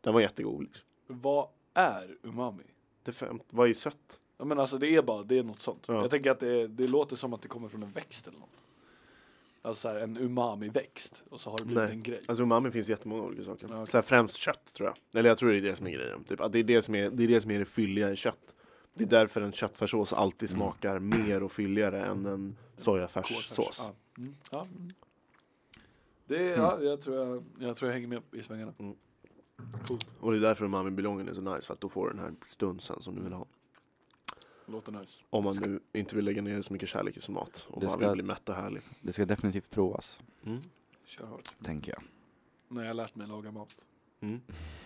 B: Den var jättegod liksom.
A: Vad är umami?
B: Det fem, var ju sött.
A: Ja men alltså det är bara, det är något sånt.
B: Ja.
A: Jag tänker att det, det låter som att det kommer från en växt eller något. Alltså så här, en umami-växt och så har det blivit
B: Nej.
A: en grej.
B: Alltså umami finns jättemånga olika saker.
A: Ja, okej.
B: Så här, främst kött tror jag. Eller jag tror det är det som är grejen. Typ, att det, är det, som är, det är det som är det fylliga i kött. Det är därför en köttfärssås alltid
A: Mm.
B: smakar mer och fylligare än en sojafärssås.
A: Ja. Mm. Ja. Mm. Det, är- ja, jag, tror jag, jag tror jag hänger med i svängarna.
B: Mm.
A: Coolt,
B: Och det är därför umami-buljongen är så nice. För att då får du den här stunsen som du vill ha.
A: låter nice.
B: Om man nu inte vill lägga ner så mycket kärlek i sin mat. Och
C: Det
B: bara
C: ska-
B: vill bli mätt och härlig.
C: Det ska definitivt provas,
B: Mm.
A: Kör hårt.
C: tänker jag.
A: När jag har lärt mig laga mat.
B: Mm.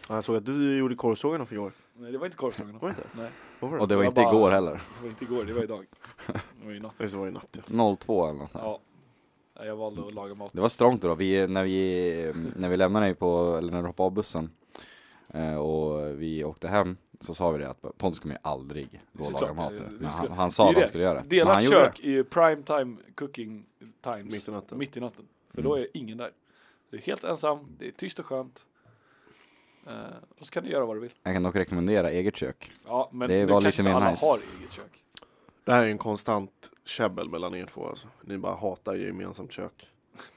B: Ja, Jag såg att du gjorde korvsågarna för igår.
A: Nej det var inte korvstroganoff.
B: Var det inte?
A: Nej,
B: Vad var
C: Och
B: det?
C: det var
A: Jag
C: inte
A: bara-
C: igår heller.
A: det var inte igår, det var idag. Det var i natt.
B: Eller så var det i natt ja.
C: 02 eller något sånt.
A: Ja. Nej, Jag valde att laga mat.
C: Det var strångt då, vi, när, vi, när vi lämnade dig på, eller när du hoppade av bussen eh, och vi åkte hem så sa vi det att Pontus kommer ju aldrig gå och laga
A: Såklart,
C: mat
A: det-
C: nu.
A: det-
C: Men han,
A: såklart.
C: han
A: Det
C: sa
A: är
C: att
A: ju
C: han
A: det.
C: skulle göra det. Men han
A: Delat
C: gjorde
A: kök är ju prime time cooking times.
B: Mitt i natten.
A: Mitt i natten. För
C: Mm.
A: då är ingen där. Du är helt ensam, det är tyst och skönt. Eh, och så kan du göra vad du vill.
C: det. Jag kan dock rekommendera eget kök.
A: Ja, men
C: Det
A: nu
C: var
A: kanske
C: lite
A: inte
C: mer
A: alla
C: nice.
A: har eget kök.
B: Det här är en konstant käbbel mellan er två alltså. Ni bara hatar ju gemensamt kök.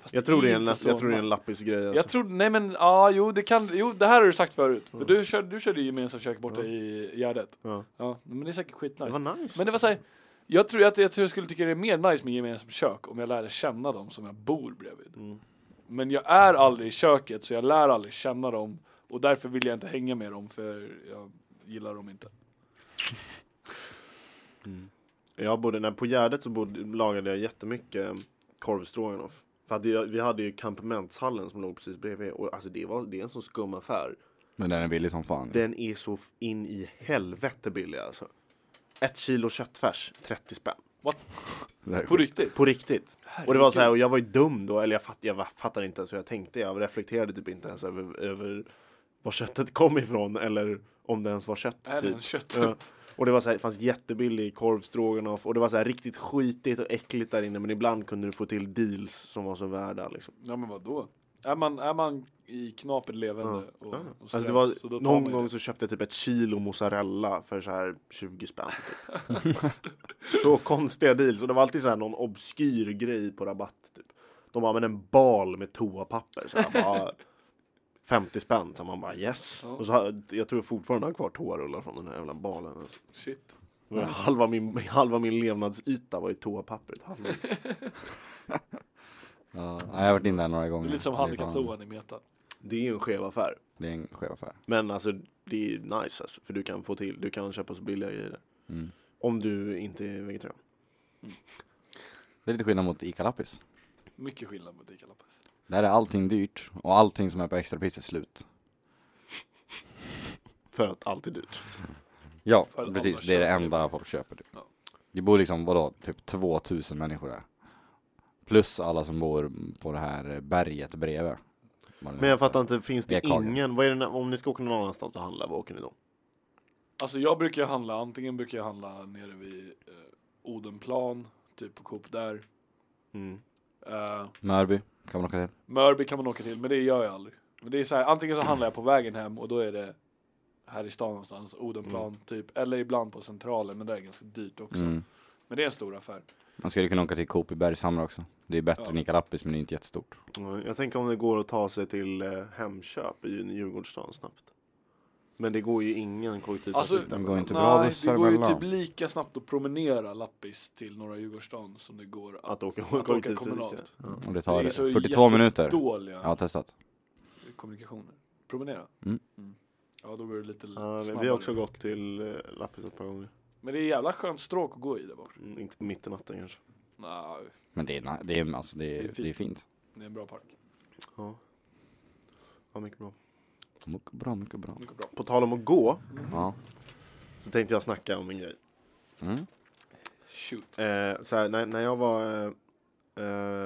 A: Fast
B: Jag tror det är en,
A: inte
B: jag
A: så
B: tror det är en
A: nice.
B: lappisgrej alltså.
A: Jag tror, nej men, ja jo det kan, jo det här har du sagt förut. För du, körde, du körde ju gemensamt kök borta i Gärdet.
B: Ja.
A: Ja, men det är säkert skitnice.
B: Det var nice.
A: Men det var såhär, jag tror att jag, tror jag skulle tycka det är mer nice med gemensamt kök om jag lärde känna dem som jag bor bredvid.
B: Mm.
A: Men jag är aldrig i köket så jag lär aldrig känna dem och därför vill jag inte hänga med dem för jag gillar dem inte.
B: Mm. Jag bodde, när på Gärdet så bodde, lagade jag jättemycket eh, korvstroganoff. För att det, vi hade ju kampamentshallen som låg precis bredvid och alltså det, var, det är en så skum affär.
C: Men den är billig som fan.
B: Den är så f- in i helvete billig alltså. Ett kilo köttfärs, 30 spänn.
A: What?
C: Det här är
A: På
C: sjukt.
A: riktigt?
B: På riktigt. Och det var så här, och jag var ju dum då, eller jag, fatt, jag fattade inte ens hur jag tänkte. Jag reflekterade typ inte ens över, över var köttet kom ifrån eller om det ens var kött.
A: Är det
B: Typ.
A: en kött?
B: Ja. Och det var så här, det fanns jättebillig korv stroganoff och det var så här riktigt skitigt och äckligt där inne men ibland kunde du få till deals som var så värda liksom.
A: Ja men vadå? Är man, är man i knapert levande
B: Ja.
A: och, och
B: Alltså det
A: sådär,
B: var,
A: så då tar man
B: någon
A: ju
B: gång
A: det.
B: så köpte jag typ ett kilo mozzarella för så här 20 spänn. typ. så konstiga deals och det var alltid så här någon obskyr grej på rabatt. Typ. De bara, men en bal med toapapper. Så här, bara, 50 spänn, så man bara yes.
A: Ja.
B: Och så, har- jag tror jag fortfarande har kvar toarullar från den här jävla balen. Alltså.
A: Shit.
B: Det var Halva, min, halva min levnadsyta var i toapappret. Halva.
C: Ja, jag har varit inne där några
A: Det
C: gånger.
A: är lite som
C: fan-
A: handikapptoan i Meta.
B: Det är ju en skev affär.
C: Det är en skev affär.
B: Men alltså det är nice alltså, för du kan få till, du kan köpa så billiga grejer. där.
C: Mm.
B: Om du inte är vegetarian.
C: Det är lite skillnad mot Ica Lappis.
A: Mycket skillnad mot Ica-lappar.
C: Där är allting dyrt och allting som är på extrapris är slut.
B: För att allt är dyrt.
C: Ja,
A: För alla
C: precis. Det är det
A: köper det.
C: enda folk köper. Typ.
A: Ja.
C: Det bor liksom, vadå, typ 2000 människor där. Plus alla som bor på det här berget bredvid. Vad det nu
B: Men jag
C: heter.
B: fattar inte, finns det
C: Det är kakan.
B: ingen, vad är det, när- om ni ska åka någon annanstans och handla, vad åker ni då?
A: Alltså jag brukar ju handla, antingen brukar jag handla nere vid eh, Odenplan, typ på Coop där.
B: Mm.
A: Eh,
C: Mörby kan man åka till.
A: Mörby kan man åka till, men det gör jag aldrig. Men det är så här, antingen så handlar jag på vägen hem och då är det här i stan någonstans, Odenplan typ, eller ibland på Centralen, men det är ganska dyrt också.
C: Mm.
A: Men det är en stor affär.
C: Man skulle kunna åka till Coop i Bergshamra också. Det är bättre
A: Ja.
C: än Ica Lappis men det är inte jättestort.
B: Ja, Jag tänker om det går att ta sig till eh, Hemköp i Djurgårdsstan snabbt. Men det går ju ingen kollektivtrafik
A: Alltså,
B: där.
C: det går inte.
A: Nej,
C: Det är bra bussar
A: det går ju
C: emellan.
A: typ lika snabbt att promenera Lappis till Norra Djurgårdsstan som det går att,
B: Att åka
A: åka
B: kollektivtrafik.
A: kommunalt.
B: Ja.
C: Och det tar
A: det är så
C: 42 minuter.
A: dåliga
C: Jag har testat.
A: kommunikationer. Promenera.
C: Mm.
A: Ja, då går det lite
B: Ja, vi- vi
A: snabbare.
B: har också gått till eh, Lappis ett par gånger.
A: Men det är jävla skönt stråk att gå i där borta.
B: Mm, Inte på mitt i natten kanske.
A: Nej,
C: Men det är, na- det är, alltså, det
A: Det är
C: är,
A: fint.
C: det är fint.
A: det är en bra park.
B: Ja. ja, mycket bra.
C: Mycket bra, mycket bra.
A: Mycket bra.
B: På tal om att gå
A: Mm.
C: Ja.
B: så tänkte jag snacka om en grej.
C: Mm.
A: Shoot.
B: Eh, så här, när, när jag var eh,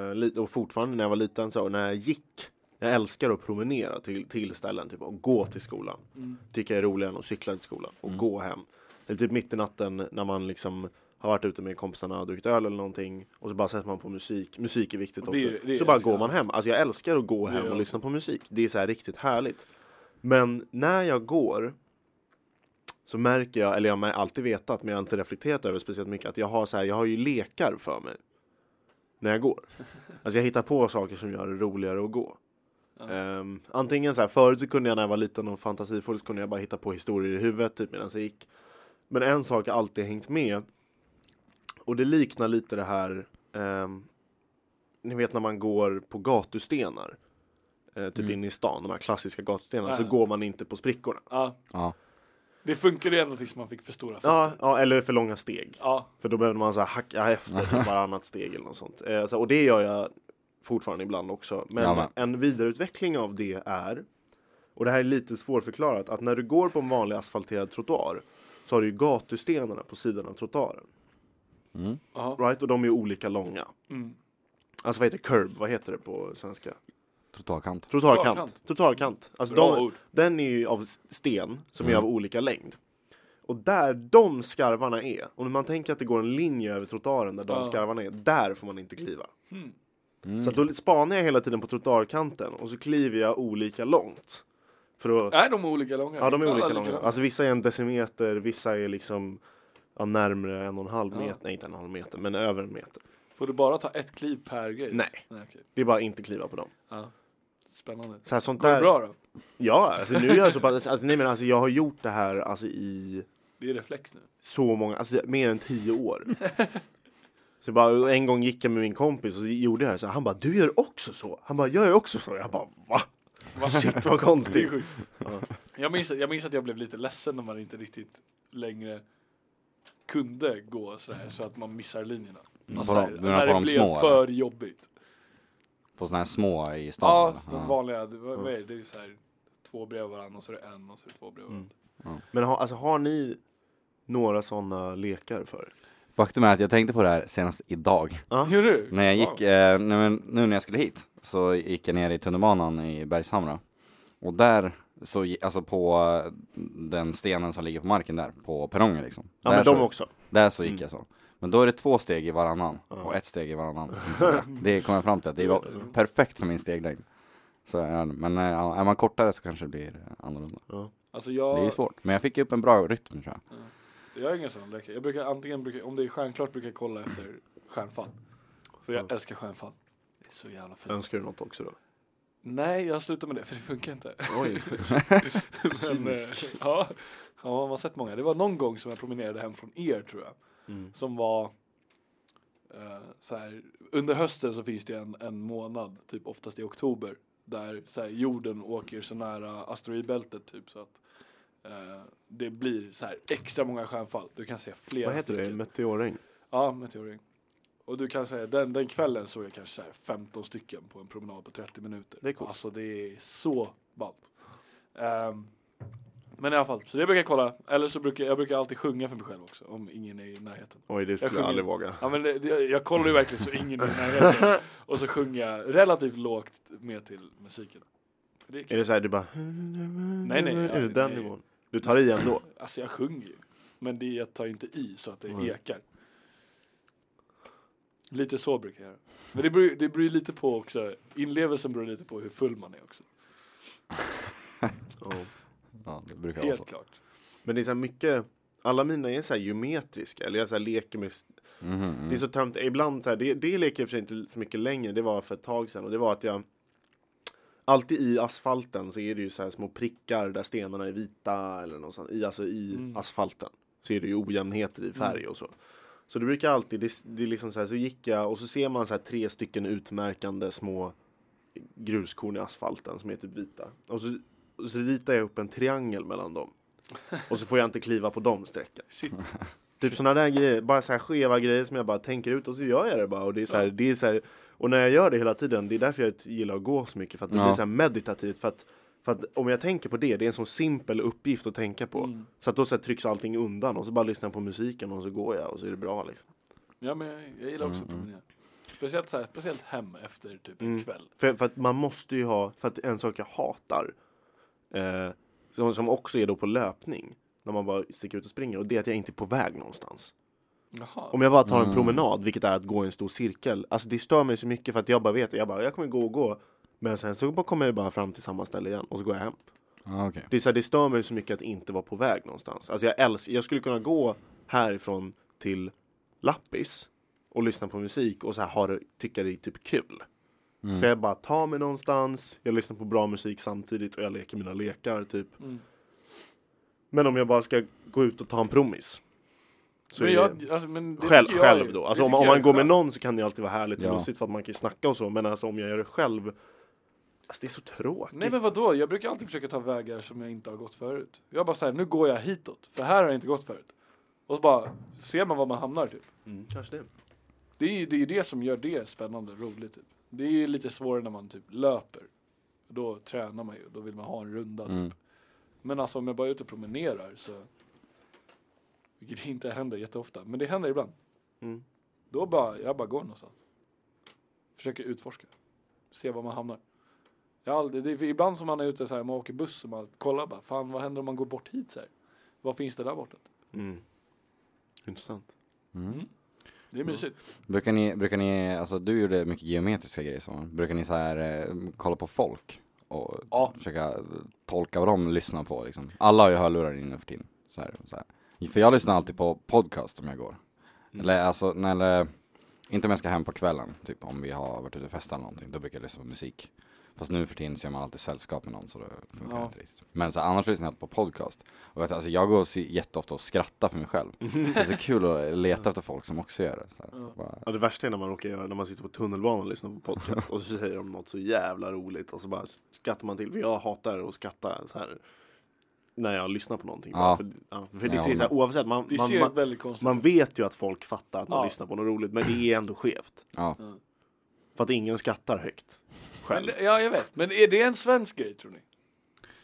B: eh, liten och fortfarande när jag var liten så när jag gick. Jag älskar att promenera till, till ställen, typ och gå till skolan.
A: Mm.
B: Tycker jag är roligare än att cykla till skolan och
C: Mm.
B: gå hem. Eller typ mitt i natten när man liksom har varit ute med kompisarna och druckit öl eller någonting och så bara sätter man på musik. Musik är viktigt
A: Och det är-
B: också.
A: det är-
B: så bara
A: älskar
B: går
A: jag.
B: man hem. Alltså jag älskar att gå
A: Det
B: hem
A: gör
B: och
A: jag
B: lyssna på musik. Det är så här riktigt härligt. Men när jag går så märker jag, eller jag har alltid vetat, men jag har inte reflekterat över speciellt mycket, att jag har, så här, jag har ju lekar för mig när jag går. Alltså jag hittar på saker som gör det roligare att gå.
A: Ja.
B: Ehm, antingen så här, förut så kunde jag när jag var liten och fantasifull så kunde jag bara hitta på historier i huvudet typ medan jag gick. Men en sak har alltid hängt med och det liknar lite det här, ehm, ni vet när man går på gatustenar, eh, typ
C: Mm.
B: inne i stan, de här klassiska gatustenarna, så
A: Ja.
B: går man inte på sprickorna.
A: Ja,
C: Ja.
A: det funkade ju ända tills man fick för stora fötter.
B: Ja, ja, eller för långa steg.
A: Ja,
B: För då behöver man så här hacka efter typ varannat steg eller något sånt. Eh, så, och det gör jag fortfarande ibland också. Men
C: Ja,
B: en vidareutveckling av det är, och det här är lite svårförklarat, att när du går på en vanlig asfalterad trottoar så har du ju gatustenarna på sidan av trottoaren.
C: Mm.
A: ja.
B: Right? Och de är ju olika långa.
A: Mm.
B: Alltså vad heter det? curb? Vad heter det på svenska?
C: Trottoarkant.
B: Trottoarkant.
A: Trottoarkant.
B: Trottoarkant. Alltså
A: Bra
B: de,
A: ord.
B: Den är ju av sten som är
C: Mm.
B: av olika längd. Och där de skarvarna är, om man tänker att det går en linje över trottoaren där de
A: Ja.
B: skarvarna är, där får man inte kliva.
A: Mm.
C: Mm.
B: Så att då spanar jag hela tiden på trottoarkanten och så kliver jag olika långt. För att,
A: Är de olika långa?
B: ja de är
A: Alla liksom.
B: olika
A: lika
B: långa. Alltså vissa är en decimeter, vissa är liksom ja, närmre en och en halv
A: Ja.
B: meter, nej inte en och en halv meter, men över en meter.
A: Får du bara ta ett kliv per grej?
B: Nej,
A: Nej okej.
B: det är bara inte kliva på dem.
A: Ja. Spännande.
B: Så här, sånt
A: Går det
B: där,
A: bra då?
B: Ja, alltså nu är jag så pass, alltså, nej men alltså jag har gjort det här alltså i
A: Det är reflex nu.
B: så många, alltså mer än tio år. Så jag bara, en gång gick jag med min kompis och så gjorde jag det här, så här, han bara du gör också så. Han bara jag gör också så. Jag bara va?
A: Va?
B: Shit vad
A: Det är
B: konstigt.
A: sjukt.
B: Ja.
A: Jag minns, jag minns att jag blev lite ledsen när man inte riktigt längre kunde gå sådär så att man missar linjerna.
C: På
A: såhär,
C: de- Mm. du menar på
A: det
C: de
A: blev
C: små,
A: för jobbigt.
C: På sådana här små i stan.
A: Ja,
C: eller?
A: de vanliga, det, vad vad är det? Det är ju såhär två bredvid varandra och så är det en och så är det två bredvid varandra.
B: Men ha, alltså, har ni några sådana lekar för?
C: Faktum är att jag tänkte på det här senast idag.
B: Ja.
A: Gör du?
C: När jag gick,
A: Wow.
C: eh, nej, men nu när jag skulle hit så gick jag ner i tunnelbanan i Bergshamra. Och där, så, gi- alltså på eh, den stenen som ligger på marken där, på perrongen liksom.
B: Ja
C: där
B: men de
C: så,
B: också.
C: Där så gick jag så. Men då är det två steg i varannan och ett steg i varannan. Så där. det kom jag fram till, att det var perfekt för min steglängd. Så, ja, men eh, ja, är man kortare så kanske det blir annorlunda.
A: Alltså
C: Det är ju
A: jag,
C: svårt. Men jag fick upp en bra rytm tror jag.
A: jag är ingen sån läkare. Jag brukar antingen, brukar, om det är stjärnklart brukar jag kolla efter stjärnfall. För jag älskar stjärnfall. Det är så jävla fint.
B: Önskar du något också då?
A: Nej, jag slutar med det för det funkar inte.
B: Oj.
A: Men, eh, ja, ja, man har sett många. Det var någon gång som jag promenerade hem från er tror jag.
B: Mm.
A: Som var eh, så här, under hösten så finns det en, en månad, typ oftast i oktober, där så här, jorden åker så nära asteroidbältet typ så att eh, det blir så här extra många stjärnfall. Du kan se flera
B: Vad heter det?
A: stycken.
B: Meteorregn?
A: Ja, meteoring. Och du kan säga, den, den kvällen såg jag kanske så här 15 stycken på en promenad på 30 minuter.
B: Det är coolt.
A: Alltså det är så ballt. Ehm, men i alla fall, så det brukar jag kolla. Eller så brukar jag brukar alltid sjunga för mig själv också, om ingen är i närheten.
B: Oj det skulle
A: sjunger.
B: jag aldrig våga.
A: Ja, men det, det- jag kollar ju verkligen så ingen är i närheten. Och så sjunger jag relativt lågt med till musiken. För det är
B: Är
A: kul.
B: det såhär du bara...
A: Nej, nej, ja,
B: Är det
A: det-
B: den
A: det-
B: nivån? Du tar i ändå?
A: Alltså jag sjunger ju. Men det, jag tar inte i så att det
B: Mm.
A: ekar. Lite så brukar jag göra. Men det beror, det beror ju lite på också. Inlevelsen beror lite på hur full man är också.
B: Ja.
C: Ja, det brukar vara
A: Helt
C: så.
A: klart.
B: Men det är så här mycket, alla mina är så här geometriska, eller jag så här leker med, st-
C: Mhm, mm.
B: det är så tömt, ibland så här, det, det leker jag i och för sig inte så mycket längre, det var för ett tag sedan och det var att jag Alltid i asfalten så är det ju så här små prickar där stenarna är vita eller något sånt. I, alltså i
A: Mm.
B: asfalten så är det ju ojämnheter i färg och så. Så det brukar alltid, det, det är liksom så här, så gick jag och så ser man så här tre stycken utmärkande små gruskorn i asfalten som är typ vita. Och så, och så ritar jag upp en triangel mellan dem. Och så får jag inte kliva på de strecken.
A: Shit.
B: Typ sådana där grejer, bara så här skeva grejer som jag bara tänker ut och så gör jag det bara. Och det är så här, det är så här, och när jag gör det hela tiden, det är därför jag gillar att gå så mycket. För att det
C: Ja.
B: blir så här meditativt. För att, för att om jag tänker på det, det är en sån simpel uppgift att tänka på.
A: Mm.
B: Så att då så här, trycks allting undan och så bara lyssnar jag på musiken och så går jag och så är det bra liksom.
A: Ja, men jag, jag gillar också att promenera. Speciellt, så här, speciellt hem efter typ en
B: Mm.
A: kväll.
B: För, för att man måste ju ha, för att en sak jag hatar, eh, som, som också är då på löpning, när man bara sticker ut och springer, och det är att jag inte är på väg någonstans.
A: Jaha.
B: Om jag bara tar en promenad, vilket är att gå i en stor cirkel, alltså det stör mig så mycket för att jag bara vet, jag bara, jag kommer gå och gå, men sen så bara kommer jag bara fram till samma ställe igen och så går jag hem.
C: Ja, okej.
B: Det, är så här, det stör mig så mycket att inte vara på väg någonstans. Alltså jag älskar, jag skulle kunna gå härifrån till Lappis och lyssna på musik och så här ha det, tycka det är typ kul. För jag bara tar mig någonstans, jag lyssnar på bra musik samtidigt och jag leker mina lekar typ.
A: Mm.
B: Men om jag bara ska gå ut och ta en promis. Så
A: men
B: är
A: jag,
B: det-
A: alltså, men det
B: själv,
A: tycker jag är-
B: själv då.
A: det
B: Alltså om,
A: tycker
B: om
A: jag
B: man
A: är
B: går med
A: skönt.
B: någon så kan det alltid vara härligt och
C: Ja.
B: mysigt för att man kan ju snacka och så. Men alltså om jag gör det själv. Alltså det är så tråkigt.
A: Nej men vadå, jag brukar alltid försöka ta vägar som jag inte har gått förut. Jag bara säger, nu går jag hitåt, för här har jag inte gått förut. Och så bara ser man var man hamnar typ.
B: Mm, kanske det.
A: Det är ju det, är ju det som gör det spännande och roligt. Typ. Det är ju lite svårare när man typ löper. Då tränar man ju, då vill man ha en runda typ.
C: Mm.
A: Men alltså om jag bara är ute och promenerar så Vilket inte händer jätteofta, men det händer ibland.
B: Mm.
A: Då bara, jag bara går någonstans. Försöker utforska. Se var man hamnar. Jag har aldrig, det är för ibland som man är ute så här, man åker buss och man kollar bara, fan vad händer om man går bort hit så här? Vad finns det där borta?
B: Mm. Intressant.
A: Det är
B: Mm.
A: mysigt.
C: Brukar ni, brukar ni, alltså du gjorde mycket geometriska grejer så. Brukar ni så här eh, kolla på folk och
A: Ja.
C: försöka tolka vad de lyssnar på liksom? Alla har ju hörlurar inne för tiden. Så här, så här. För jag lyssnar alltid på podcast om jag går.
A: Mm.
C: Eller alltså, nej, eller, inte om jag ska hem på kvällen, typ om vi har varit ute och festat eller någonting, då brukar jag lyssna på musik. Fast nu för tiden så är man alltid sällskap med någon så det funkar
A: Ja.
C: inte riktigt. Men så här, annars lyssnar jag alltid på podcast. Och vet, du, alltså, jag går och ser jätteofta och skrattar för mig själv. Det är så kul att leta efter folk som också gör det. Så här. Bara,
B: Ja, det värsta är när man råkar göra när man sitter på tunnelbanan och lyssnar på podcast och så säger de något så jävla roligt och så bara skrattar man till. För jag hatar att skratta så här när jag lyssnar på någonting.
C: Ja.
B: Bara För, ja, för det
C: Jag
B: ser så här, oavsett, man,
A: Det
B: man,
A: ser
B: man,
A: väldigt konstigt
B: man vet ju att folk fattar att man
A: Ja.
B: lyssnar på något roligt men det är ändå skevt.
C: ja.
B: För att ingen skrattar högt. Själv.
A: Men, det- ja, jag vet. Men är det en svensk grej tror ni?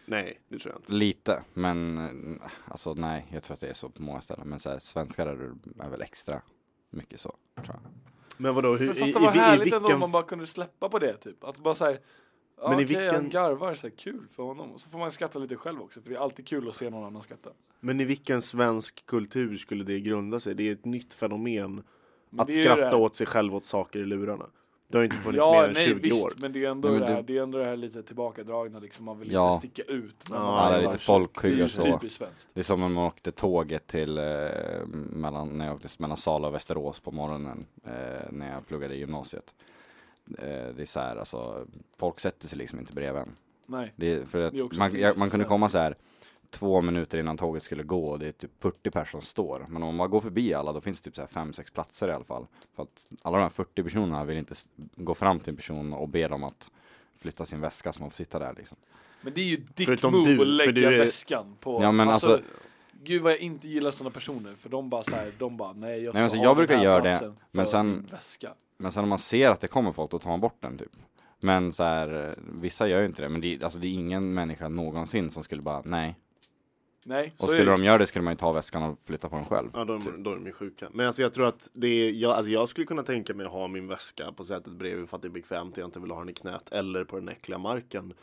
B: Nej, det tror jag inte.
C: Lite, men eh, alltså nej, jag tror att det är så på många ställen. Men så här, svenskar är, är väl extra Mycket så, tror jag.
B: Men vadå, hur,
A: För
B: i, i,
A: fatta vad
B: i,
A: härligt ändå om
B: vilken...
A: man bara kunde släppa på det typ. Att bara såhär, ja,
B: Men
A: okej
B: i vilken-
A: han garvar, så här, kul för honom. Och så får man skratta lite själv också, för det är alltid kul att se någon annan skratta.
B: Men i vilken svensk kultur skulle det grunda sig? Det är ett nytt fenomen
A: Men
B: att
A: det är ju det
B: skratta
A: här-
B: åt sig själv åt saker i lurarna. Det har ju inte funnits
A: Ja,
B: mer än
A: nej,
B: 20
A: visst,
B: år.
A: men det är ändå,
C: Nej, men
A: det, här,
C: det-
A: det är ändå det här lite tillbakadragna liksom, man vill
C: Ja.
A: inte sticka ut. När
B: Ja,
A: man
B: alla
C: Alla
A: är där,
C: är lite
B: varför?
A: Det är
C: folkskygga
A: ju
C: så.
A: typiskt svenskt.
C: Det är som om man åkte tåget till, eh, mellan, när jag åkte mellan Sala och Västerås på morgonen eh, när jag pluggade i gymnasiet. Eh, det är så här, alltså, folk sätter sig liksom inte bredvid en.
A: Nej.
C: Det är, för att
A: Det är också
C: man,
A: typiskt
C: jag, man kunde
A: svenskt.
C: komma så här två minuter innan tåget skulle gå och det är typ 40 personer som står. Men om man bara går förbi alla då finns det typ så här fem, sex platser i alla fall. För att alla de här 40 personerna vill inte s- gå fram till en person och be dem att flytta sin väska så man får sitta där liksom.
A: Men det är ju dick
B: Förutom
A: move
B: du,
A: att
B: för
A: lägga
B: du är-
A: väskan på.
C: Ja, men alltså-
A: Gud vad jag inte gillar sådana personer, för de bara såhär, de bara nej jag ska
C: men alltså,
A: ha
C: jag
A: den
C: brukar
A: här
C: göra det,
A: platsen för
C: men sen-
A: min väska.
C: Men sen om man ser att det kommer folk, då tar man bort den typ. Men så här, eh, vissa gör ju inte det, men det, är- alltså, det är ingen människa någonsin som skulle bara, nej.
A: Nej,
C: Och
A: så är
C: skulle
A: det.
C: de göra det skulle man ju ta väskan och flytta på den själv.
B: Ja, då, är
A: Typ.
B: de- då är de ju sjuka. Men alltså, jag tror att det är, jag, alltså, jag skulle kunna tänka mig att ha min väska på sätet bredvid för att det är bekvämt och jag inte vill ha den i knät eller på den äckliga marken.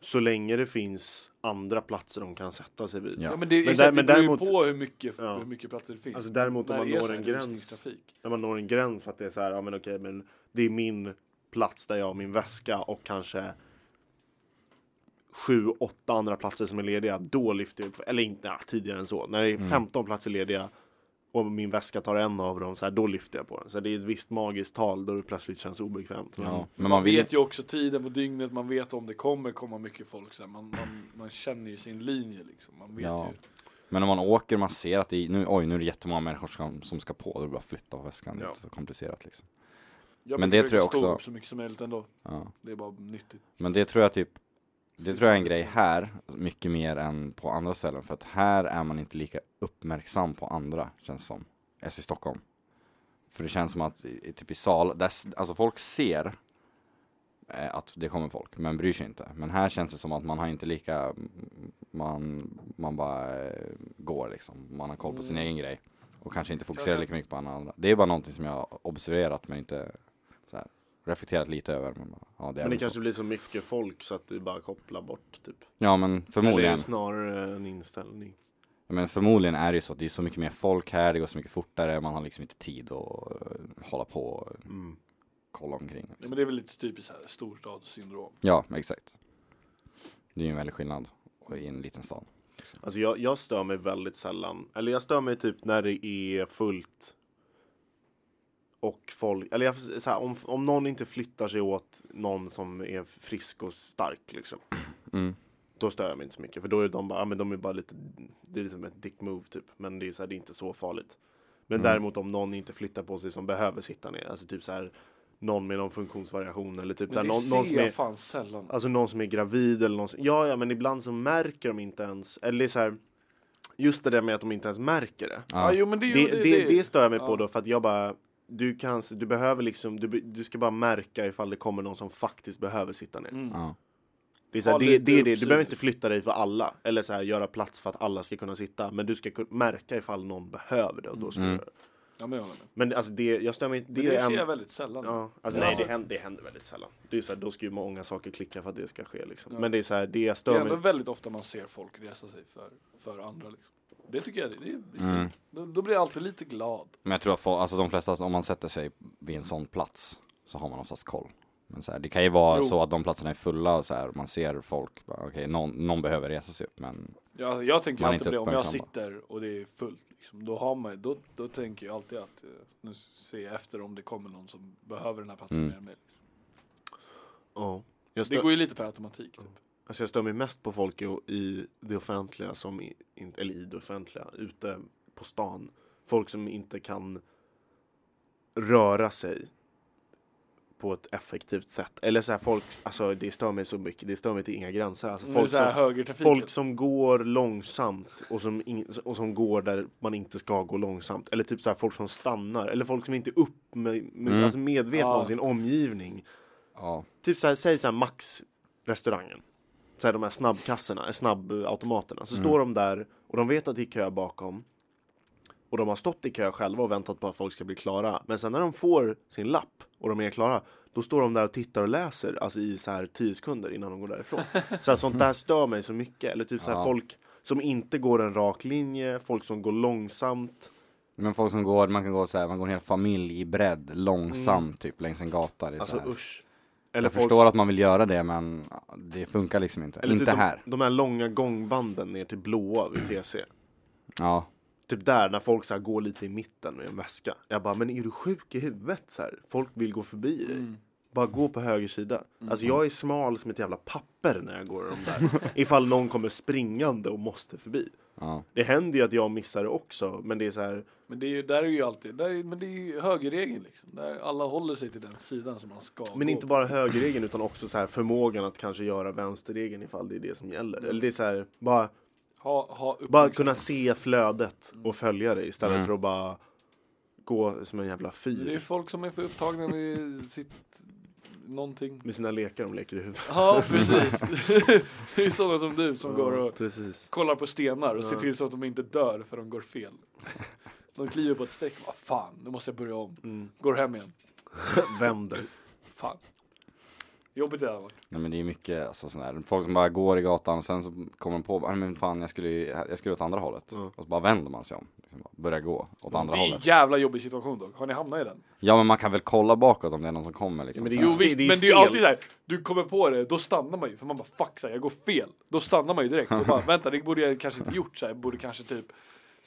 B: Så länge det finns andra platser de kan sätta sig vid.
C: Ja.
A: Ja, men det,
B: Men
A: exakt,
B: där-
A: det
B: men
A: beror
B: däremot-
A: ju på hur mycket,
B: Ja.
A: hur mycket platser det finns.
B: Alltså, däremot om
A: När
B: man
A: det är
B: når
A: så här
B: en gräns.
A: rusningstrafik.
B: När man når en gräns för att det är så här, ja men okej, men det är min plats där jag har min väska och kanske sju, åtta andra platser som är lediga. Då lyfter jag upp, eller inte ja, tidigare än så. När det är
C: Mm.
B: 15 platser lediga och min väska tar en av dem, så här, då lyfter jag på den. Så det är ett visst magiskt tal då det plötsligt känns obekvämt.
C: Ja. Men
A: Man,
C: man vill
A: vet ju också tiden på dygnet, man vet om det kommer komma mycket folk. Så här. Man, man, man känner ju sin linje liksom. Man vet
C: Ja.
A: ju.
C: Men om man åker och man ser att det är, nu, oj, nu är det jättemånga människor som, som ska på, då är det bara att flytta av väskan. Det är
B: Ja.
C: inte så komplicerat liksom.
A: Jag
C: Men
A: brukar
C: det tror jag
A: stå
C: också-
A: upp så mycket som möjligt ändå.
C: Ja.
A: Det är bara nyttigt.
C: Men det tror jag typ, det tror jag är en grej här, mycket mer än på andra ställen. För att här är man inte lika uppmärksam på andra, känns som. Än i Stockholm. För det känns som att, i, i- typ i sal, där, s- alltså folk ser eh, att det kommer folk, men bryr sig inte. Men här känns det som att man har inte lika, mm, man, man bara eh, går liksom. Man har koll på sin
A: Mm.
C: egen grej. Och kanske inte fokuserar
A: Kanske.
C: lika mycket på alla andra. Det är bara någonting som jag har observerat men inte så här, reflekterat lite över. Men, bara, ja, det är
B: Men det
C: väl så.
B: kanske blir så mycket folk så att du bara kopplar bort typ.
C: Ja men
B: Eller är
C: förmodligen.
B: det snarare en inställning.
C: Ja, Men förmodligen är det ju så att det är så mycket mer folk här, det går så mycket fortare, man har liksom inte tid att eh, hålla på och
B: Mm.
C: kolla omkring.
A: Ja,
C: Liksom.
A: men det är väl lite typiskt så här, storstadssyndrom.
C: Ja, exakt. Det är ju en väldig skillnad och i en liten stad.
B: Alltså jag, jag stör mig väldigt sällan. Eller jag stör mig typ när det är fullt. Och folk, eller jag, så här, om, om någon inte flyttar sig åt någon som är frisk och stark liksom.
C: Mm.
B: Då stör jag mig inte så mycket. För då är de bara, ja, men de är bara lite, det är liksom ett dick move typ. Men det är, så här, det är inte så farligt. Men
C: Mm.
B: däremot om någon inte flyttar på sig som behöver sitta ner. Alltså typ så här, någon med någon funktionsvariation eller typ så här,
A: Men det
B: någon,
A: ser
B: någon som
A: jag
B: är
A: fan sällan.
B: Alltså någon som är gravid eller någon som, ja, ja, men ibland så märker de inte ens, eller det är så här, just det där med att de inte ens märker det.
A: Ja,
C: Ja.
A: jo, men det, är ju-
B: Det, det, det, stör jag mig
A: ja.
B: på då för att jag bara, du kan, du behöver liksom, du, be- du ska bara märka ifall det kommer någon som faktiskt behöver sitta ner.
A: Mm.
C: Ja.
B: Det är så här,
A: Ha
B: det,
A: lite
B: det, är det, du
A: uppsyn.
B: behöver inte flytta dig för alla, eller så här, göra plats för att alla ska kunna sitta, men du ska kun- märka ifall någon behöver det och då ska
C: Mm.
B: du göra det.
A: Ja, men jag håller med.
B: Men alltså det, jag stör mig inte, det,
A: Men det,
B: är
A: ser
B: en-
A: jag väldigt sällan.
B: Ja, alltså,
A: Men
B: nej,
A: alltså-
B: det, händer, det händer väldigt sällan. Det är så här, då ska ju många saker klicka för att det ska ske. Liksom.
A: Ja.
B: Men det är så här, det jag
A: Det är
B: stör
A: ändå
B: mig
A: väldigt ofta man ser folk resa sig för, för andra. Liksom. Det tycker jag det, det är fint.
C: Mm.
A: Då, då blir jag alltid lite glad.
C: Men jag tror att folk, alltså de flesta, om man sätter sig vid en sån plats så har man oftast koll. Men så här, det kan ju vara
A: Jo.
C: så att de platserna är fulla och så här, man ser folk, bara, okej, någon, någon behöver resa sig upp, men
A: Jag, jag tänker
C: Man är
A: alltid
C: inte
A: på det, om jag
C: uppmärksam.
A: sitter och det är fullt, liksom, då, har man, då, då tänker jag alltid att eh, nu ser jag efter om det kommer någon som behöver den här platsen
C: Mm.
A: mer än mig. liksom.
B: Ja. jag
A: Det
B: stör,
A: går ju lite per automatik. Typ.
B: alltså, jag stör mig mest på folk i, i det offentliga, som i, in, eller i det offentliga, ute på stan. Folk som inte kan röra sig på ett effektivt sätt. Eller så här, folk, alltså det stör mig så mycket, det stör mig till inga gränser. Alltså,
A: Folk,
B: folk
A: så här,
B: som,
A: högertrafiken.
B: Folk som går långsamt och som, in, och som går där man inte ska gå långsamt. Eller typ så här, folk som stannar. Eller folk som inte är upp med, med,
C: Mm.
B: alltså medvetna
A: Ja.
B: om sin omgivning.
C: ja.
B: Typ så här, säg så här Max-restaurangen. Så här, de här
C: Mm.
B: snabbkassorna, eh, snabbautomaterna. Så står de där och de vet att det är kö bakom. Och de har stått i kö själva och väntat på att folk ska bli klara. Men sen när de får sin lapp och de är klara, då står de där och tittar och läser alltså i så här 10 sekunder innan de går därifrån. Så här, sånt där stör mig så mycket. Eller typ så här
C: Ja.
B: folk som inte går en rak linje, folk som går långsamt.
C: Men folk som går, man kan gå så här, man går en hel familj i bredd, långsamt typ längs en gata. Det är
B: Alltså
C: så här.
B: usch.
C: jag
B: Eller folk
C: förstår att man vill göra det men det funkar liksom inte.
B: Eller
C: inte
B: typ
C: här.
B: De, de här långa gångbanden ner till blåa vid TC.
C: Ja.
B: Typ där när folk så här går lite i mitten med en väska. Jag bara, men är du sjuk i huvudet? Så här, folk vill gå förbi dig.
A: Mm.
B: Bara gå på höger sida. Alltså jag är smal som ett jävla papper när jag går de där. Ifall någon kommer springande och måste förbi.
C: ja.
B: Det händer ju att jag missar det också. Men det är så här,
A: Men det är ju, där är ju alltid, där är, men det är ju högerregeln liksom. Där alla håller sig till den sidan som man ska
B: men
A: gå
B: inte
A: på.
B: bara högerregeln utan också så här förmågan att kanske göra vänsterregeln ifall det är det som gäller. Eller det är så här, bara
A: Ha, ha liksom.
B: Bara
A: uppmärksamhet.
B: kunna se flödet och följa det istället
C: Mm.
B: för att bara gå som en jävla
A: Men Det är ju
B: fyr
A: folk som är för upptagna med sitt någonting.
B: med sina lekar de leker i huvudet.
A: Ja, precis. det är ju sådana som du som går och
B: Precis.
A: kollar på stenar och ser
B: Ja.
A: till så att de inte dör för de går fel. De kliver på ett streck. Vad fan, nu måste jag börja om.
B: Mm.
A: Går hem igen.
B: Vänder.
A: Fan. Jobbigt det här var.
C: Nej men det är mycket alltså, sån där. folk som bara går i gatan och sen så kommer de på, "Ah, men fan jag skulle, ju- jag skulle åt andra hållet.
B: Mm.
C: Och så bara vänder man sig om. Liksom, bara börjar gå åt
A: Det
C: andra
A: är en
C: hållet.
A: jävla jobbig situation dock. Har ni hamnat i den?
C: Ja men man kan väl kolla bakåt om det är någon som kommer liksom.
B: Ja, men det är
C: så
A: Jo
C: här.
B: ju-
A: visst,
B: Alltså, det är
A: men det är ju alltid
B: stelt.
A: såhär, du kommer på det, då stannar man ju. För man bara fuck så här, jag går fel. Då stannar man ju direkt och bara vänta, det borde jag kanske inte gjort. Så här, jag borde kanske typ,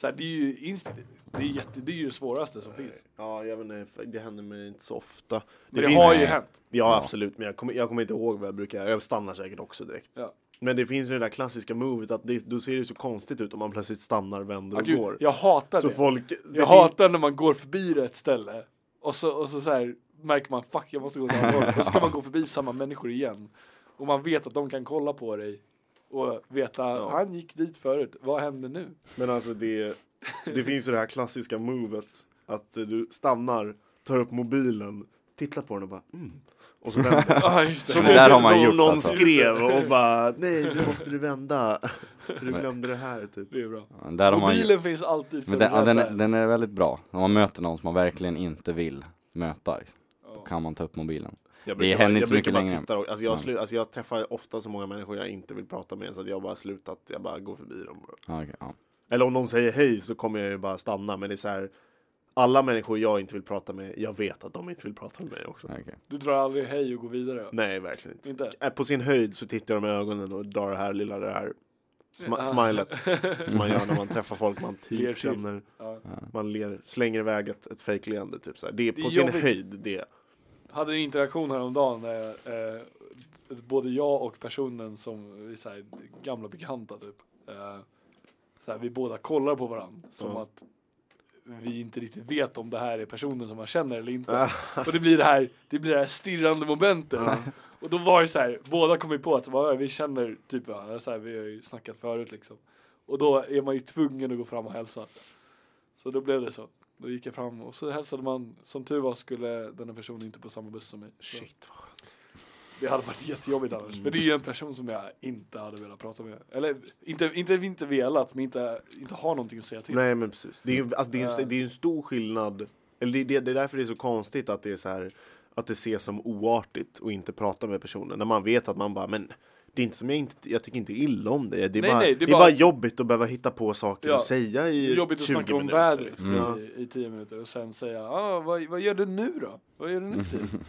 A: så här, det är ju instinktivt. Det är, jätte, det är ju det svåraste som finns.
B: Ja, jag vet inte, det händer mig inte så ofta.
A: Men det, har
C: finns-
A: ju hänt.
B: Ja,
C: Ja.
B: absolut, men jag kommer, jag kommer inte ihåg vad jag brukar göra. Jag stannar säkert också direkt.
A: Ja.
B: Men det finns ju det där klassiska movet att det, då ser det så konstigt ut om man plötsligt stannar, vänder
A: Ja,
B: och
A: gud,
B: går.
A: jag hatar
B: så
A: det.
B: folk... det
A: jag hatar när man går förbi ett ställe och så, och så, så här, märker man fuck jag måste gå åt andra hållet. Och så ska man gå förbi samma människor igen. Och man vet att de kan kolla på dig och veta han gick dit förut, vad händer nu?
B: Men alltså det, det finns ju det här klassiska movet att eh, du stannar, tar upp mobilen, tittar på den och bara mm. Och så vänder.
A: Ah, just det.
C: Som Det där har man
B: som
C: gjort,
B: någon
C: alltså.
B: skrev och bara nej nu måste du vända. För du glömde det här typ.
A: Det är bra.
C: Ja, Där har man ju...
A: Mobilen finns alltid för
C: Men
A: att
C: den, ja, den,
A: rädda
C: är-
A: en.
C: den är väldigt bra. Om man möter någon som man verkligen inte vill möta, liksom, då
A: Ja.
C: kan man ta upp mobilen.
B: Jag
C: Det händer inte så mycket längre.
B: Titta, och- alltså, jag
C: Nej.
B: slu, alltså jag träffar ofta så många människor jag inte vill prata med så att jag bara slutat, jag bara går förbi dem.
C: Ja, okej, ja.
B: Eller om någon säger hej så kommer jag ju bara stanna men det är så här alla människor jag inte vill prata med, jag vet att de inte vill prata med mig också.
C: Ja, okej.
A: Du drar aldrig hej och går vidare?
B: Nej, verkligen inte.
A: Inte?
B: Äh, På sin höjd så tittar de i ögonen och drar det här lilla det här sm- smilet som man gör när man träffar folk man
A: Ah. Ler
B: typ
A: till.
B: känner.
A: Ja.
B: Man ler, slänger iväg ett, ett fejkleende typ så här. Det är
A: Det är
B: på sin
A: jobbigt.
B: höjd det.
A: hade en interaktion häromdagen när eh, både jag och personen som vi är så här, gamla bekanta typ. Eh, så här, vi båda kollar på varandra som
B: Ja.
A: att vi inte riktigt vet om det här är personen som man känner eller inte. och det blir det här, det blir det här stirrande momentet. och då var det så här, båda kom ju på att så bara, "Ja, vi känner typ varandra, så här, vi har ju snackat förut liksom. Och då är man ju tvungen att gå fram och hälsa. Så då blev det så. Då gick jag fram och så hälsade man. Som tur var skulle den här personen inte på samma buss som mig. Så
B: Shit. vad-
A: det hade varit jättejobbigt annars. För det är ju en person som jag inte hade velat prata med. Eller inte, inte, inte velat, men inte, inte har någonting att säga till.
B: Nej men precis. Det är ju alltså, det är, ju-
A: Äh.
B: det är ju en stor skillnad. Eller det, det, det är därför det är så konstigt att det är så här att det ses som oartigt och inte prata med personen när man vet att man bara men det är inte som jag inte, jag tycker inte illa om dig. Det är,
A: Nej,
B: bara,
A: nej,
B: det är bara... jobbigt att behöva hitta på saker
A: Ja.
B: att säga
A: Det är
B: i
A: jobbigt att
B: 20
A: snacka om
B: minuter. Mm.
A: vädret Mm.
B: Ja.
A: i, i tio minuter och sen säga ah, vad, vad gör du nu då? Vad gör du nu för tiden?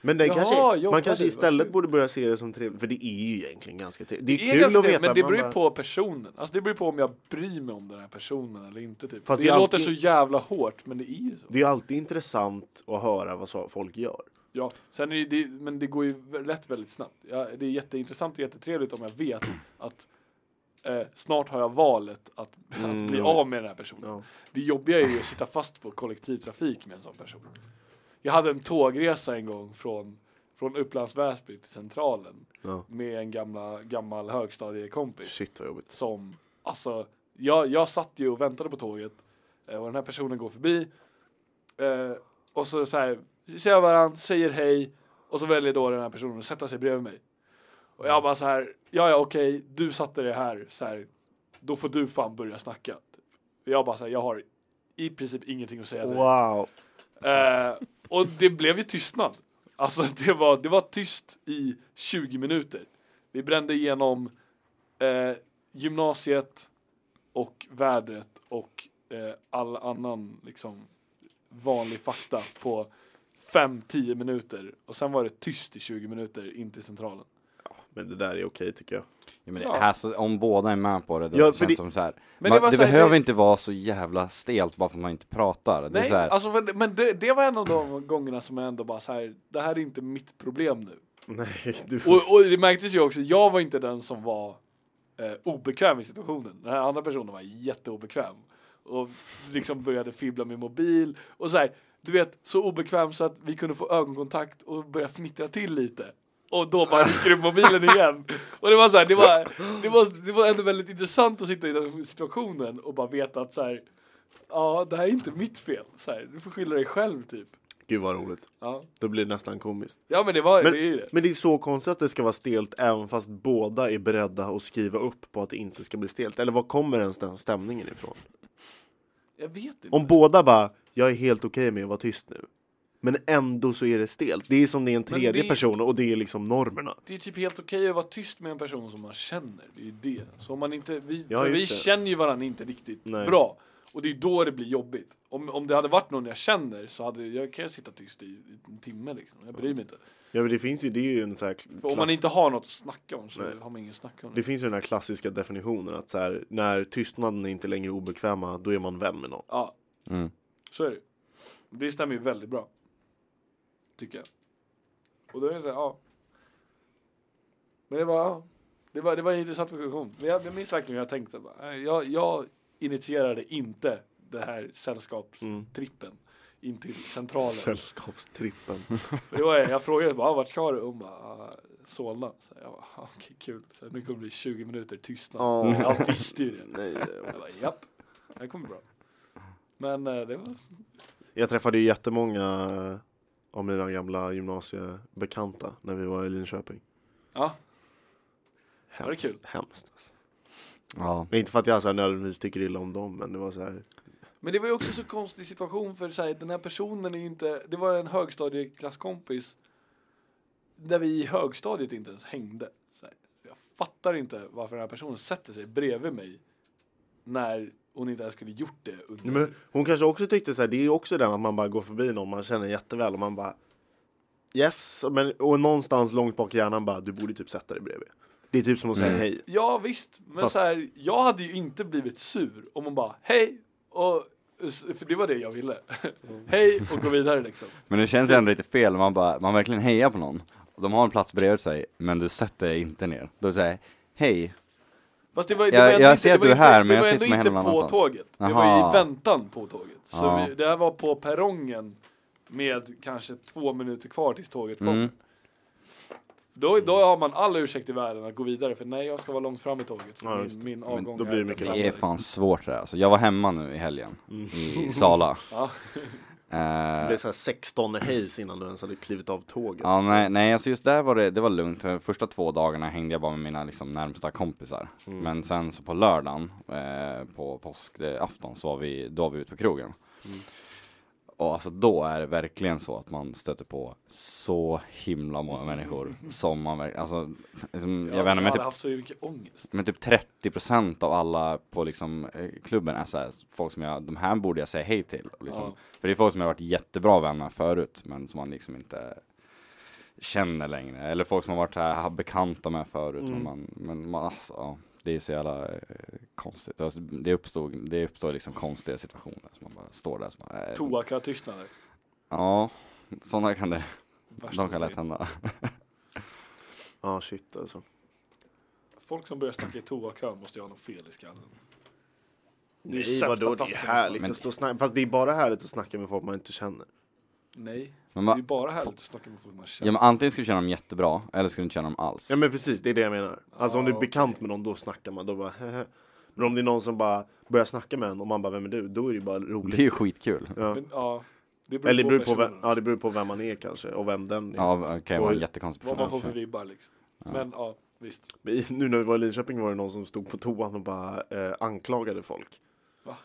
B: Men den
A: Jaha,
B: kanske,
A: jobbade,
B: man kanske
A: vad
B: istället
A: kul.
B: borde börja se det som trevligt, för det är ju egentligen ganska trevligt. Det är,
A: Det är
B: kul
A: ganska
B: att veta.
A: trevligt, men det
B: man
A: beror ju
B: bara-
A: på personen. Alltså det beror ju på om jag bryr mig om den här personen eller inte typ.
B: Fast
A: det
B: det är
A: låter
B: alltid-
A: så jävla hårt, men det är ju så.
B: Det är ju alltid intressant att höra vad så- folk gör.
A: Ja, sen är det, men det går ju vä- lätt väldigt snabbt. Ja, det är jätteintressant och jättetrevligt om jag vet att eh, snart har jag valet att,
B: Mm,
A: att bli
B: ja,
A: av
B: visst.
A: med den här personen.
B: Ja.
A: Det jobbiga är ju att sitta fast på kollektivtrafik med en sån person. Jag hade en tågresa en gång från, från Upplands Väsby till Centralen
B: Ja.
A: med en gamla, gammal högstadiekompis
B: Shit vad jobbigt.
A: som, alltså, jag, jag satt ju och väntade på tåget eh, och den här personen går förbi eh, och så så här, ser varandra, säger hej och så väljer då den här personen att sätta sig bredvid mig. Och jag bara så här, ja ja okej, du satte dig här, så här, då får du fan börja snacka. Jag typ. bara så här, jag har i princip ingenting att säga till.
B: Wow.
A: Eh, och det blev ju tystnad. Alltså det var, det var tyst i 20 minuter. Vi brände igenom eh, gymnasiet och vädret och eh, all annan liksom vanlig fakta på 5-10 minuter. Och sen var det tyst i 20 minuter in till centralen.
B: Men det där är okej tycker jag.
C: Ja, men det,
A: Ja.
C: alltså, om båda är med på det då
B: Ja, för
C: känns det
B: det-
C: som så här.
A: Men
C: man,
A: det var
C: det,
A: så här,
C: behöver
A: det-
C: inte vara så jävla stelt bara för att man inte pratar. Det är
A: Nej,
C: så här,
A: alltså, men- men det, det var en av de gångerna som jag ändå bara så här, det här är inte mitt problem nu.
B: Nej, du...
A: Och, och det märktes ju också, jag var inte den som var eh, obekväm i situationen. Den här andra personen var jätteobekväm. Och liksom började fibbla med mobil. Och så här, du vet, så obekväm så att vi kunde få ögonkontakt och börja fnittra till lite. Och då bara rycker du mobilen igen. Och det var så här, det var, det var, det var ändå väldigt intressant att sitta i den situationen och bara veta att så här, ja, det här är inte mitt fel. Så här, du får skylla dig själv typ.
B: Gud vad roligt.
A: Ja,
B: Då blir det nästan komiskt.
A: ja men det var
B: Men,
A: det är ju det.
B: men det är så konstigt att det ska vara stelt även fast båda är beredda att skriva upp på att det inte ska bli stelt. Eller var kommer ens den stämningen ifrån?
A: Jag vet inte.
B: Om båda bara, jag är helt okej med att vara tyst nu. Men ändå så är det stelt. Det är som det är en
A: Men
B: tredje
A: det-
B: person och det är liksom normerna.
A: Det är typ helt okej att vara tyst med en person som man känner. Det är ju det. Så om man inte, vi,
B: Ja,
A: för vi
B: just det.
A: känner ju varandra inte riktigt
B: Nej.
A: bra. Och det är då det blir jobbigt. Om, om det hade varit någon jag känner så hade jag kan jag sitta tyst i, i en timme liksom. Jag bryr mig inte.
B: Ja men det finns ju, det är ju en sån här kl-
A: För om man
B: klass-
A: inte har något att snacka om så
B: Nej.
A: har man inget att snacka om.
B: Det finns ju den här klassiska definitionen att så här, när tystnaden är inte längre obekväma, då är man vän med någon.
A: Ja,
C: mm.
A: så är det Det stämmer ju väldigt bra. Tycker jag. Och då är det så här, ja. Men det var, ja. Det var, det var en intressant diskussion. Men jag, jag minns verkligen hur jag tänkte. Bara, nej, Jag, jag initierade inte det här sällskapstrippen in till centralen.
B: Sällskapstrippen.
A: För Det var, jag jag frågade bara, "Ah, vart ska du? Hon bara, "Ah, Solna. Så jag bara, "Ah, okej kul. Så här, nu kommer det bli 20 minuter tystnad.
B: Åh.
A: Jag visste ju det.
B: Nej,
A: Jag bara, japp. Det här kommer bra. Men eh, det var
B: Jag träffade ju jättemånga av mina gamla gymnasiebekanta när vi var i Linköping.
A: Ja.
B: Hemskt,
A: Var det kul?
B: Hemskt. Alltså.
C: ja.
B: Men inte för att jag så här nödvändigtvis tycker illa om dem, men det var så här.
A: Men det var ju också så konstig situation för så här, den här personen är ju inte, det var en högstadieklasskompis där vi i högstadiet inte ens hängde. Så här, jag fattar inte varför den här personen sätter sig bredvid mig när hon inte ens skulle gjort det. Under.
B: Nej, Men hon kanske också tyckte så här, det är ju också den att man bara går förbi någon man känner jätteväl och man bara Yes, men, och någonstans långt bak i hjärnan bara, du borde typ sätta dig bredvid. Det är typ som att säga
C: Mm.
B: hej.
A: Ja visst, men
B: Fast-
A: så här, jag hade ju inte blivit sur om hon bara hej och för det var det jag ville.
B: Mm.
A: Hej och gå vidare liksom.
C: Men det känns ju ändå lite fel när man bara, man verkligen hejar på någon. Och de har en plats bredvid sig, men du sätter dig inte ner. Då säger hej.
A: Fast det var, det
C: Jag-
A: var ändå
C: jag
A: inte,
C: ser
A: det
C: att
A: var
C: du är
A: inte-
C: här,
A: det
C: men jag
A: var
C: sitter
A: ändå
C: med
A: inte
C: händerna
A: på
C: någonstans.
A: tåget. Det var
C: Aha.
A: i väntan på tåget. Så
C: Ja.
A: vi, det här var på perrongen med kanske två minuter kvar tills tåget kom.
C: Mm.
A: Då, då har man all ursäkt i världen att gå vidare för nej, jag ska vara långt fram i tåget. Så
B: Ja, just
A: min,
B: det.
A: min
B: Men
A: avgång
B: då blir det
A: är
B: mycket
A: framme.
C: Det är fan svårt det här alltså. Jag var hemma nu i helgen, i, i Sala.
A: Ja.
B: Det
C: Eh,
B: blev så här 16 hejs innan du ens hade klivit av tåget.
C: Ja, nej, nej, alltså just där var det, det var lugnt. De första två dagarna hängde jag bara med mina liksom, närmsta kompisar. Men sen så på lördagen, eh, på påskafton, så var vi, då var vi ute på krogen. Och alltså då är det verkligen så att man stöter på så himla många människor som man verkligen, alltså, liksom, jag vet inte,
A: jag
C: men
A: hade
C: typ,
A: haft så mycket ångest.
C: men typ 30% av alla på liksom, eh, klubben är så här, folk som jag, de här borde jag säga hej till. Och liksom,
A: Ja.
C: För det är folk som jag har varit jättebra vän med förut, men som man liksom inte känner längre. Eller folk som har varit så här, har bekanta med förut. Men,
B: Mm.
C: man, men man, alltså, ja, det är så jävla eh, konstigt. Alltså, det, uppstod, det uppstår liksom konstiga situationer. Så man bara står där. Så man, eh,
A: Toakötystnader.
C: Ja, sådana kan det,
A: Värsta
C: de kan lätt
A: grejen.
C: hända.
B: Ja, shit alltså.
A: Folk som börjar snacka i toakön måste ju ha något fel i skallen. Det är ju
B: Nej,
A: sämsta
B: vadå, det är
A: platsen.
B: härligt
C: Men-
B: att stå och snacka. Fast det är bara härligt att snacka med folk man inte känner.
A: Nej,
C: Men
A: det är ju
C: man,
A: bara härligt att snacka med folk man
C: ja,
A: känner.
C: men antingen skulle du känna dem jättebra, eller skulle du inte känna dem alls.
B: Ja, men precis, det är det jag menar. Alltså om
A: Ja,
B: du är bekant med någon, då snackar man. Då bara, hehe. Men om det är någon som bara börjar snacka med en och man bara, vem är du? Då är det ju bara
C: Det är
B: roligt.
C: ju skitkul.
B: Ja.
A: Men, ja, det beror
B: Eller det
A: på
B: beror på, vem,
A: personerna.
B: ja, det beror på vem man är kanske, och vem den är.
C: Ja, det kan ju vara en jättekonstig
A: Vad
C: person.
A: man får för vibbar liksom. Men ja, visst.
B: Men i- Nu när vi var i Linköping var det någon som stod på toan och bara eh, anklagade folk.
A: Va?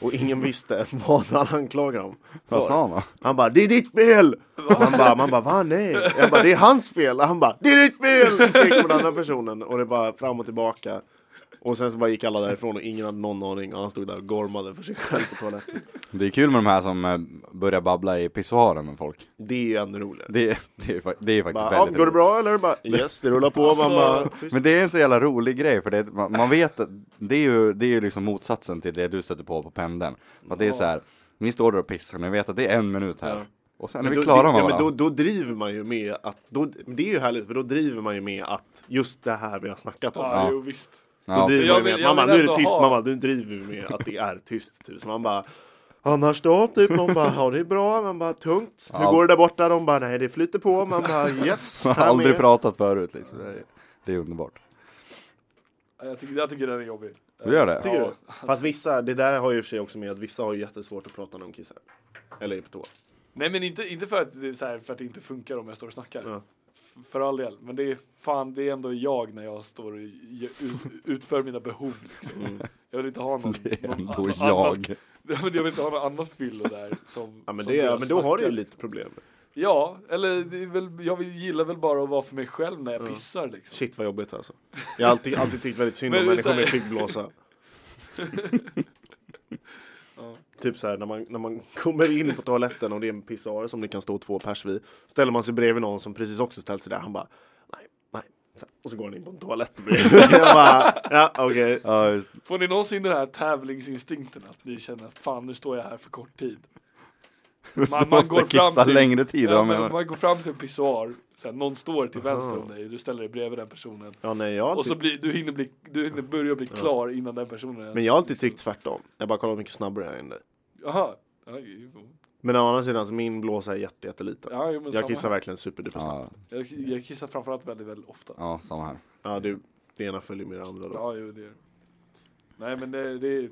B: Och ingen visste vad han anklagade dem
C: Vad
B: för.
C: sa han då?
B: Han bara, det är ditt fel! Han bara, man bara, va nej? Jag bara, det är hans fel! Han bara, det är ditt fel! Skrek på den andra personen och det bara fram och tillbaka. Och sen så bara gick alla därifrån och ingen hade någon aning och han stod där och gormade för sig själv på toaletten.
C: Det är kul med de här som eh, börjar babbla i pissoaren med folk.
B: Det är ju ännu roligare.
C: Det är, det är, fa- det är faktiskt
B: Bara, ja,
C: väldigt
B: går det
C: roligt.
B: bra eller? Bara, yes, det rullar på. Man bara,
C: Men det är en så jävla rolig grej för det, man, man vet att det är ju det är ju liksom motsatsen till det du sätter på på pendeln. För att det är så här, ni står där och pissar, ni vet att det är en minut här. Och sen är vi
B: då-
C: klara
B: det-
C: med
B: ja, men
C: varandra.
B: då, då driver man ju med att, då, det är ju härligt för då driver man ju med att just det här vi har snackat om.
A: Ja,
C: Ja.
A: jo visst.
B: Då
C: Ja,
B: driver
A: Jag
B: man ju
A: vill-
B: med att
A: jag
B: mamma
A: vill
B: nu är det
A: ändå
B: tyst,
A: ha-
B: mamma du driver ju med att det är tyst. Typ. Så man bara Annars då? Typ. Man bara, ja det är bra. Man bara, tungt. Hur
C: Ja.
B: går det där borta? De bara, nej det flyter på. Man bara, yes.
C: man har
B: här
C: aldrig
B: med.
C: pratat förut liksom. Det är, det är underbart.
A: Ja, Jag tycker, jag tycker den är jobbig.
C: Du gör det?
B: Tycker
A: Ja.
B: du? Fast vissa, det där har ju i och för sig också med att vissa har ju jättesvårt att prata när de kissar. Eller är på toa.
A: Nej men inte, inte för, att det är så här, för att det inte funkar om jag står och snackar.
B: Ja.
A: F- För all del. Men det är fan, det är ändå jag när jag står och ge- ut, utför mina behov. Liksom.
B: Mm.
A: Jag vill inte ha någon,
C: Det är
A: någon
C: ändå
A: annan-
C: jag.
A: Nej, men jag vill inte ha något annat fyllo där. Som,
B: Ja men,
A: som
B: det,
A: jag
B: ja, men då har du ju
A: snackar.
B: lite problem.
A: Ja, eller det är väl, jag vill, gillar väl bara att vara för mig själv när jag pissar liksom.
B: Shit vad jobbigt alltså. Jag har alltid, alltid tyckt väldigt synd
A: Men
B: om
A: det är
B: människor
A: så här-
B: med fickblåsa.
A: Ja.
B: Typ så här när man, när man kommer in på toaletten och det är en pissoar som det kan stå två pers vid. Ställer man sig bredvid någon som precis också ställt sig där. Han bara nej, nej. Och så går han in på en toalett bredvid. Jag bara ja okej.
C: Ja, just-
A: Får ni någonsin den här tävlingsinstinkten att ni känner fan nu står jag här för kort tid? Man, man
C: måste
A: går
C: kissa
A: fram till,
C: längre tid,
A: ja,
C: vad
A: men
C: menar du?
A: man går fram till en pissoar, så här, någon står till vänster om dig och du ställer dig bredvid den personen.
B: Ja nej jag har
A: Och så
B: alltid,
A: blir, du hinner, bli, du hinner börja bli klar innan den personen ens-
B: men jag har alltid tyckt tvärtom. Jag bara kollar hur mycket snabbare jag är än dig.
A: Jaha. Ja, jo.
B: Men å andra sidan så min blåsa är jätte, jätteliten.
A: Ja, jo, men
B: Jag
A: samma
B: kissar
A: här.
B: verkligen superduper snabbt.
C: ja,
A: jag, jag kissar framförallt väldigt, väldigt ofta.
C: ja, samma här.
B: Ja du, det ena följer med det andra då.
A: Ja, jo, det är Nej, men det, det är...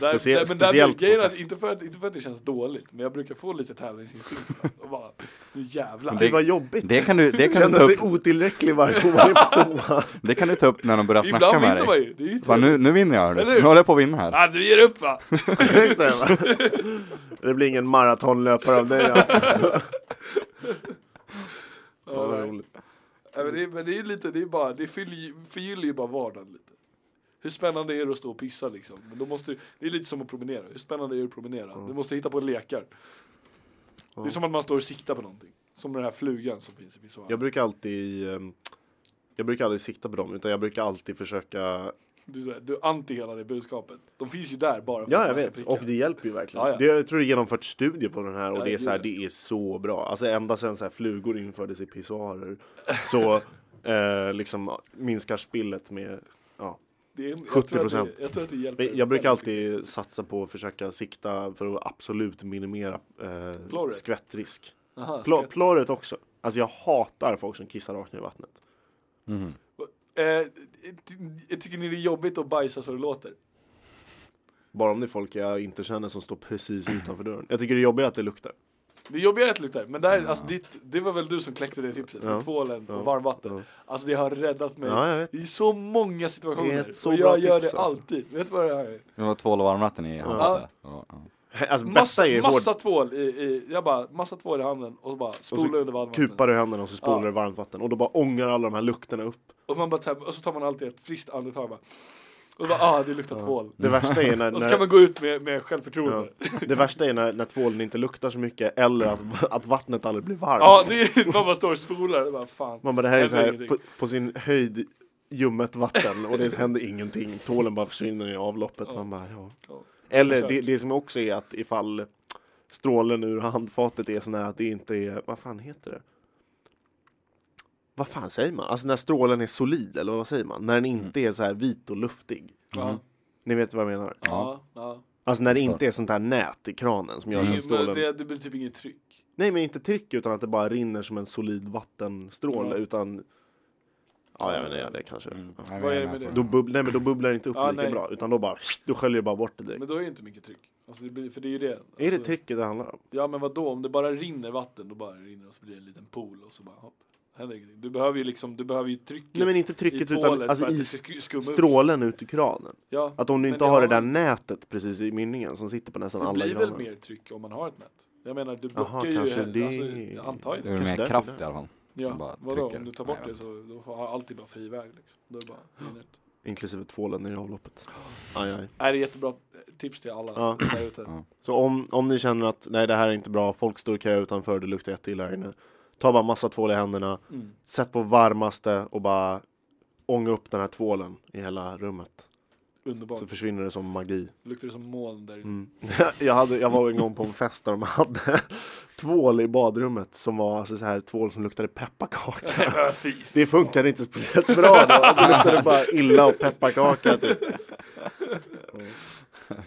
A: Där,
B: Specie-
A: där, men där
B: speciellt
A: blir
B: på
A: grejen att,
B: fest.
A: inte, för att, inte för att det känns dåligt, men jag brukar få lite tävlingsinstinkt ibland och bara, nu jävlar.
C: Men
B: Det
C: det-
B: var jobbigt.
C: Det kan du, det kan du
B: Känner
C: ta
B: sig
C: upp,
B: otillräcklig varje gång man är på toa.
C: det kan du ta upp när de börjar
A: Ibland
C: snacka med
A: vinner man
C: dig.
A: ju, det är ju
C: Bara,
A: trevligt.
C: nu, nu vinner jag hörru.
A: Eller hur?
C: nu håller jag på att vinna här.
A: Ah, du ger upp va?
B: Just det, va? det blir ingen maratonlöpare av dig alltså. Ja, vad roligt.
A: Ja, men, det, men det är ju lite, det är bara, det fyller, ju- förgyller ju bara vardagen lite. Hur spännande är det att stå och pissa liksom? Men då måste, du- det är lite som att promenera, hur spännande är det att promenera? Du måste hitta på lekar. Det är som att man står och siktar på någonting. Som den här flugan som finns i pissoaren.
B: Jag brukar alltid ehm, jag brukar aldrig sikta på dem utan jag brukar alltid försöka
A: Du, är så här- du är anti hela det budskapet. De finns ju där bara för
B: Ja
A: att
B: jag
A: man ska
B: vet
A: pricka.
B: och det hjälper ju verkligen.
A: Ja, ja.
B: Det, jag tror det är genomfört studier på den här och
A: Ja,
B: det är
A: det
B: så här,
A: är det.
B: det är så bra. Alltså ända sedan så här flugor infördes i pissoarer så eh, liksom minskar spillet med ja.
A: Det är- jag
B: 70%.
A: tror att det- Jag tror att det hjälper.
B: Men Jag brukar alltid satsa på att försöka sikta för att absolut minimera eh,
A: Plåret.
B: skvättrisk.
A: Aha,
B: Pl plåret också. Alltså jag hatar folk som kissar rakt ner i vattnet.
C: Mhm.
A: ska- eh, ty- tycker ni det är jobbigt att bajsa så det låter?
B: Bara om det är folk jag inte känner som står precis utanför dörren. Jag tycker det jobbiga är att det luktar.
A: Det jobbiga är att lukta, men det, här, alltså, ditt, det var väl du som kläckte det tipset
B: Ja.
A: med tvålen
B: Ja.
A: och varmvatten. Alltså det har räddat mig
B: Ja, jag vet.
A: i så många situationer.
B: Det är ett så
A: och
B: bra
A: jag gör
B: tips,
A: det
B: alltså.
A: alltid. Vet du vad det här är?
C: Det var tvål och varmvatten i handfatet. Ja. ja.
B: Alltså
A: Massa,
B: bästa är hård.
A: massa tvål i, i, jag bara, massa tvål i handen och så bara spola under varmvattnet.
B: Kupar du händerna och så spolar
A: Ja.
B: du varmt vatten och då bara ångar alla de här lukterna upp.
A: Och, man bara, tar- och så tar man alltid ett friskt andetag och bara, och bara ah det luktar tvål.
B: Det värsta är när,
A: Och så kan
B: när,
A: man gå ut med, med självförtroende. Ja,
B: det värsta är när, när tvålen inte luktar så mycket eller att, att vattnet aldrig blir varmt.
A: det är, man bara står och spolar och bara fan.
B: Man bara det här är så
A: händer
B: här,
A: ingenting.
B: på, på sin höjd ljummet vatten och det händer ingenting. Tvålen bara försvinner i avloppet. Man bara, ja.
A: Ja.
B: Eller det, det som också är att ifall strålen ur handfatet är sån här att det inte är, vad fan heter det? Vad fan säger man? Alltså när strålen är solid, eller vad säger man? När den inte
A: Mm.
B: är så här vit och luftig.
A: Ja,
B: Ni vet vad jag menar?
A: ja, ja.
B: Alltså när det inte är sånt här nät i kranen som gör så att
A: Det, Mm. men
B: strålen...
A: det, det blir typ inget tryck.
B: Nej men inte tryck utan att det bara rinner som en solid vattenstråle
A: Ja.
B: utan... Ja jag menar, ja, det kanske...
C: Jag
A: Vad är det
C: menar,
A: med det?
B: Då, bubb, nej, men då bubblar det inte upp
A: Ja,
B: lika
A: nej.
B: bra utan då bara då sköljer det bara bort det direkt.
A: Men då är det inte mycket tryck. Alltså det blir, för det är ju det. Alltså,
B: är det tricket det handlar om?
A: Ja men vadå, om det bara rinner vatten, då bara rinner det och så blir det en liten pool och så bara hopp. händer ingenting. Du behöver ju liksom, du behöver ju trycket
B: Nej men inte
A: i
B: trycket
A: tvålet
B: utan alltså
A: för att
B: i
A: det ska skumma ut.
B: strålen ut ur kranen.
A: Ja,
B: Att om du
A: Men
B: inte
A: det
B: har det
A: har
B: där
A: man-
B: nätet precis i mynningen som sitter på nästan
A: det
B: alla
A: blir
B: granar.
A: väl mer tryck om man har ett nät. Jag menar, du
B: Jaha,
A: blockar ju,
B: kanske
A: alltså,
B: det-
A: det...
C: Det
A: antagligen.
C: är
B: Kanske
C: mer
B: därför
C: kraft i
B: det.
C: alla fall.
A: Ja,
C: bara
A: vadå?
C: trycker.
A: Om du tar bort
C: Nej,
A: det
C: jag
A: så då har alltid bara fri väg. Liksom. Då är det bara minut.
B: Inklusive tvålen ner i avloppet. Aj, aj.
A: Är det är jättebra eh, tips till alla
B: Ja.
A: där ute.
C: Ja.
B: Så om, om ni känner att nej det här är inte bra, folk står i kö utanför, det luktar jätteilla här inne. Ta bara massa tvål i händerna,
A: Mm.
B: sätt på varmaste och bara ånga upp den här tvålen i hela rummet.
A: Underbart.
B: Så försvinner det som magi.
A: Luktar det som moln där inne.
B: Mm. jag, hade, jag var en gång på en fest där de hade tvål i badrummet som var alltså så här tvål som luktade pepparkaka.
A: Äh, Fy.
B: Det funkade inte speciellt bra då. Det luktade bara illa och pepparkaka. Typ.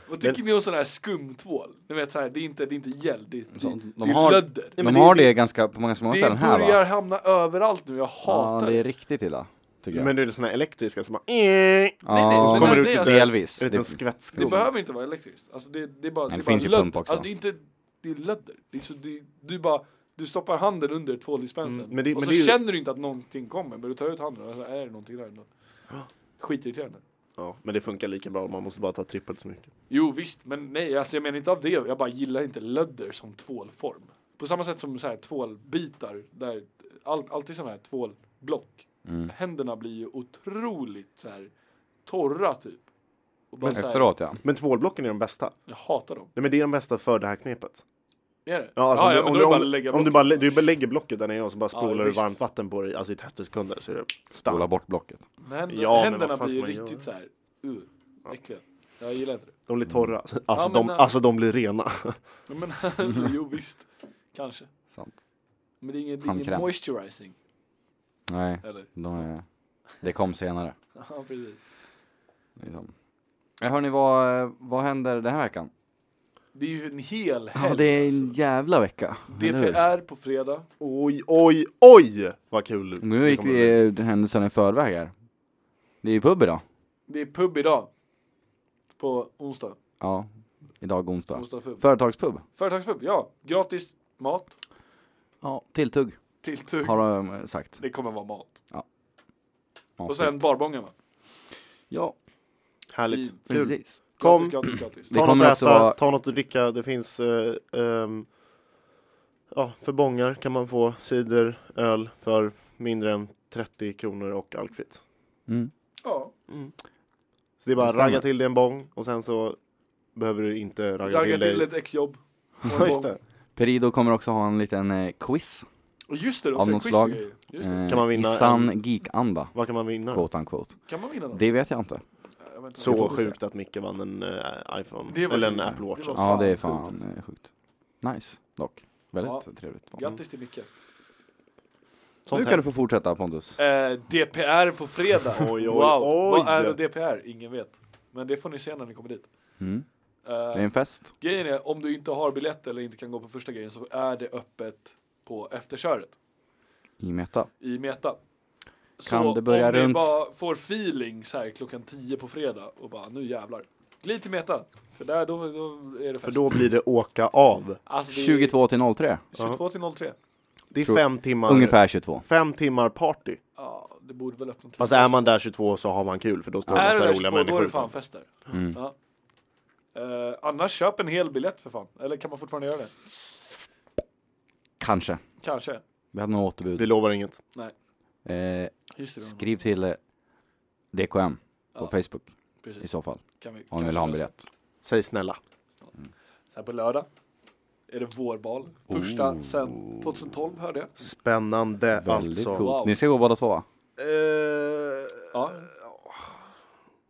A: Vad tycker ni om sån här skumtvål? Ni vet såhär, det är inte, det är inte gel, det är,
C: Så,
A: det,
C: de
A: det är
C: har-
A: lödder.
B: Nej,
C: De
B: men
C: har
B: det-
C: det ganska, på många, många
A: Det
C: ställen här
A: börjar
C: va?
A: hamna överallt nu, jag
C: Ja,
A: hatar
C: det
A: det.
C: är riktigt illa. Tycker jag.
B: Men det är såna här elektriska som bara... Eh,
A: nej, nej,
C: ja,
A: så kommer
C: men
A: det ut lite-
C: delvis.
B: en
C: Det,
B: liten
A: Det
B: skvättskum.
A: behöver inte vara elektriskt. Alltså det, det är bara,
C: Nej,
A: det
C: det
A: är bara
C: finns ju
A: lödder.
C: pump också.
A: Alltså det är inte, det är lödder. Det är så, det, du bara, du stoppar handen under tvåldispensen.
B: Mm, men det-
A: och
B: men
A: så
B: det är ju-
A: känner du inte att någonting kommer, men du tar ut handen och så är det någonting där ändå. Skitirriterande.
B: Ja, men det funkar lika bra. Man måste bara ta trippelt så mycket.
A: Jo visst, men nej, alltså jag menar inte av det. Jag bara gillar inte lödder som tvålform. På samma sätt som så här tvålbitar, där all, alltid sådana här tvålblock.
C: mm.
A: Händerna blir ju otroligt så här torra typ. Och bara så här,
C: Efteråt ja.
B: Men tvålblocken är de bästa.
A: jag hatar dem.
B: Nej, men det är de bästa för det här knepet.
A: Är det?
B: Ja, alltså, om
A: ja,
B: du-
A: men
B: om
A: då är
B: du-
A: det bara
B: om-
A: att lägga
B: Om du
A: blocket.
B: bara, lä- du bara lägger blocket där nere och så bara
A: Ja,
B: spolar du
A: visst.
B: varmt vatten på det i- alltså, i 30 sekunder. Så är det
C: Spola bort blocket.
A: Men händer,
B: Ja, men
A: händerna
B: vad fan
A: blir ju
B: ska man
A: riktigt så här, uh, äckliga. Jag gillar inte det.
B: De blir torra. Alltså,
A: men,
B: de,
A: äh,
B: alltså de blir rena.
A: Ja, Men jo visst, kanske.
C: Sant.
A: Men det är ingen, det är ingen
C: Handkräm.
A: moisturizing,
C: Nej,
A: eller?
C: de är, det kom senare.
A: Ja, precis.
C: Liksom. Ja, hörni, vad, vad händer den här veckan?
A: Det är ju en hel helg.
C: Ja, det är en
A: alltså.
C: jävla vecka. eller hur?
A: DPR på fredag.
B: Oj, oj, oj! Vad kul!
C: Nu
B: det
C: gick
B: kommer bli.
C: vi eh, händelsen i förväg här. Det är ju pub idag.
A: Det är pub idag. På onsdag.
C: Ja, idag onsdag.
A: onsdag pub.
C: Företagspub.
A: Företagspub, ja. Gratis mat.
C: Ja, tilltugg
A: Tilltugg.
C: har de eh, sagt.
A: Det kommer vara mat.
C: Ja,
A: Och sen barbången va?
C: Ja,
B: Härligt.
A: Fint.
B: Kul.
C: precis.
B: Kom.
A: Gratis, gratis, gratis.
C: Det
B: Ta något
C: kommer
B: att
C: också
B: äta,
C: vara-
B: ta något att dricka. Det finns... Eh, ehm, ja, för bångar kan man få cider, öl för mindre än 30 kronor och alkfritt.
C: Mm.
A: Ja.
B: Så det är bara
C: Det stämmer.
B: ragga till dig en bång och sen så behöver du inte ragga,
A: Ragga
B: till
A: till
B: dig...
A: ett exjobb.
B: Ja, just det.
C: Perido kommer också ha en liten eh, quiz.
A: Och just det,
C: Av
A: också
C: något
A: ett quiz
C: slag.
A: och grejer. Just det.
C: Eh,
B: Kan man vinna
C: I sann
B: en-
C: geekanda,
B: Vad kan man vinna?
C: quote unquote.
A: Kan man vinna något?
C: Det vet jag inte.
A: Jag vet inte.
B: Så
A: Det får vi
B: sjukt att Micke vann en eh, iPhone,
A: Det var-
B: eller en
A: det
B: Apple Watch.
A: var-
B: alltså.
C: Ja, det är
A: fan
C: fan eh, sjukt. Nice, dock. Väldigt trevligt.
A: se. Grattis till Micke.
B: Sånt
C: nu kan
B: här.
C: du få fortsätta Pontus.
A: Eh, DPR på fredag.
B: oj,
A: wow.
B: oj.
A: Vad är då DPR? Ingen vet. Men det får ni se när ni kommer dit.
C: Mm. Det är
A: Eh,
C: en fest.
A: grejen är, om du inte har biljett eller inte kan gå på första grejen så är det öppet på efterköret
C: I Meta.
A: i Meta.
C: Kan det börja
A: om ni
C: runt?
A: bara får feeling så här klockan 10 på fredag och bara nu jävlar. Glid till Meta, för där då, då är det fest.
B: För då blir det åka av.
A: alltså, det är
C: 22 till 03.
A: 22 till 03.
B: Det är
C: Tror-
B: fem timmar,
C: Ungefär 22.
B: fem timmar party.
A: Ja, det borde väl öppna till.
B: Fast är man där 22 så har man kul för då står det en
A: Är det
C: Alltså,
B: massa
A: där
B: roliga
A: 22, då är
B: människor
A: det fan
B: utanför.
A: fest där.
C: Mm.
A: Ja. Eh, annars köp en hel biljett för fan. Eller kan man fortfarande göra det?
C: Kanske.
A: Kanske.
C: Vi hade några återbud.
B: Vi lovar inget.
C: Eh,
A: Just det,
C: skriv till eh, DKM på
A: Ja,
C: Facebook i
A: precis.
C: så fall.
A: Kan vi,
C: Om ni vill
A: kanske
C: ha en
A: lösa.
C: biljett.
B: Säg snälla.
A: Så här på lördag är det vårbal. Första sedan 2012 hörde jag.
B: Spännande
C: Väldigt
B: alltså.
C: coolt.
A: Wow.
C: Ni ska gå båda två va?
B: Eh,
A: Ja.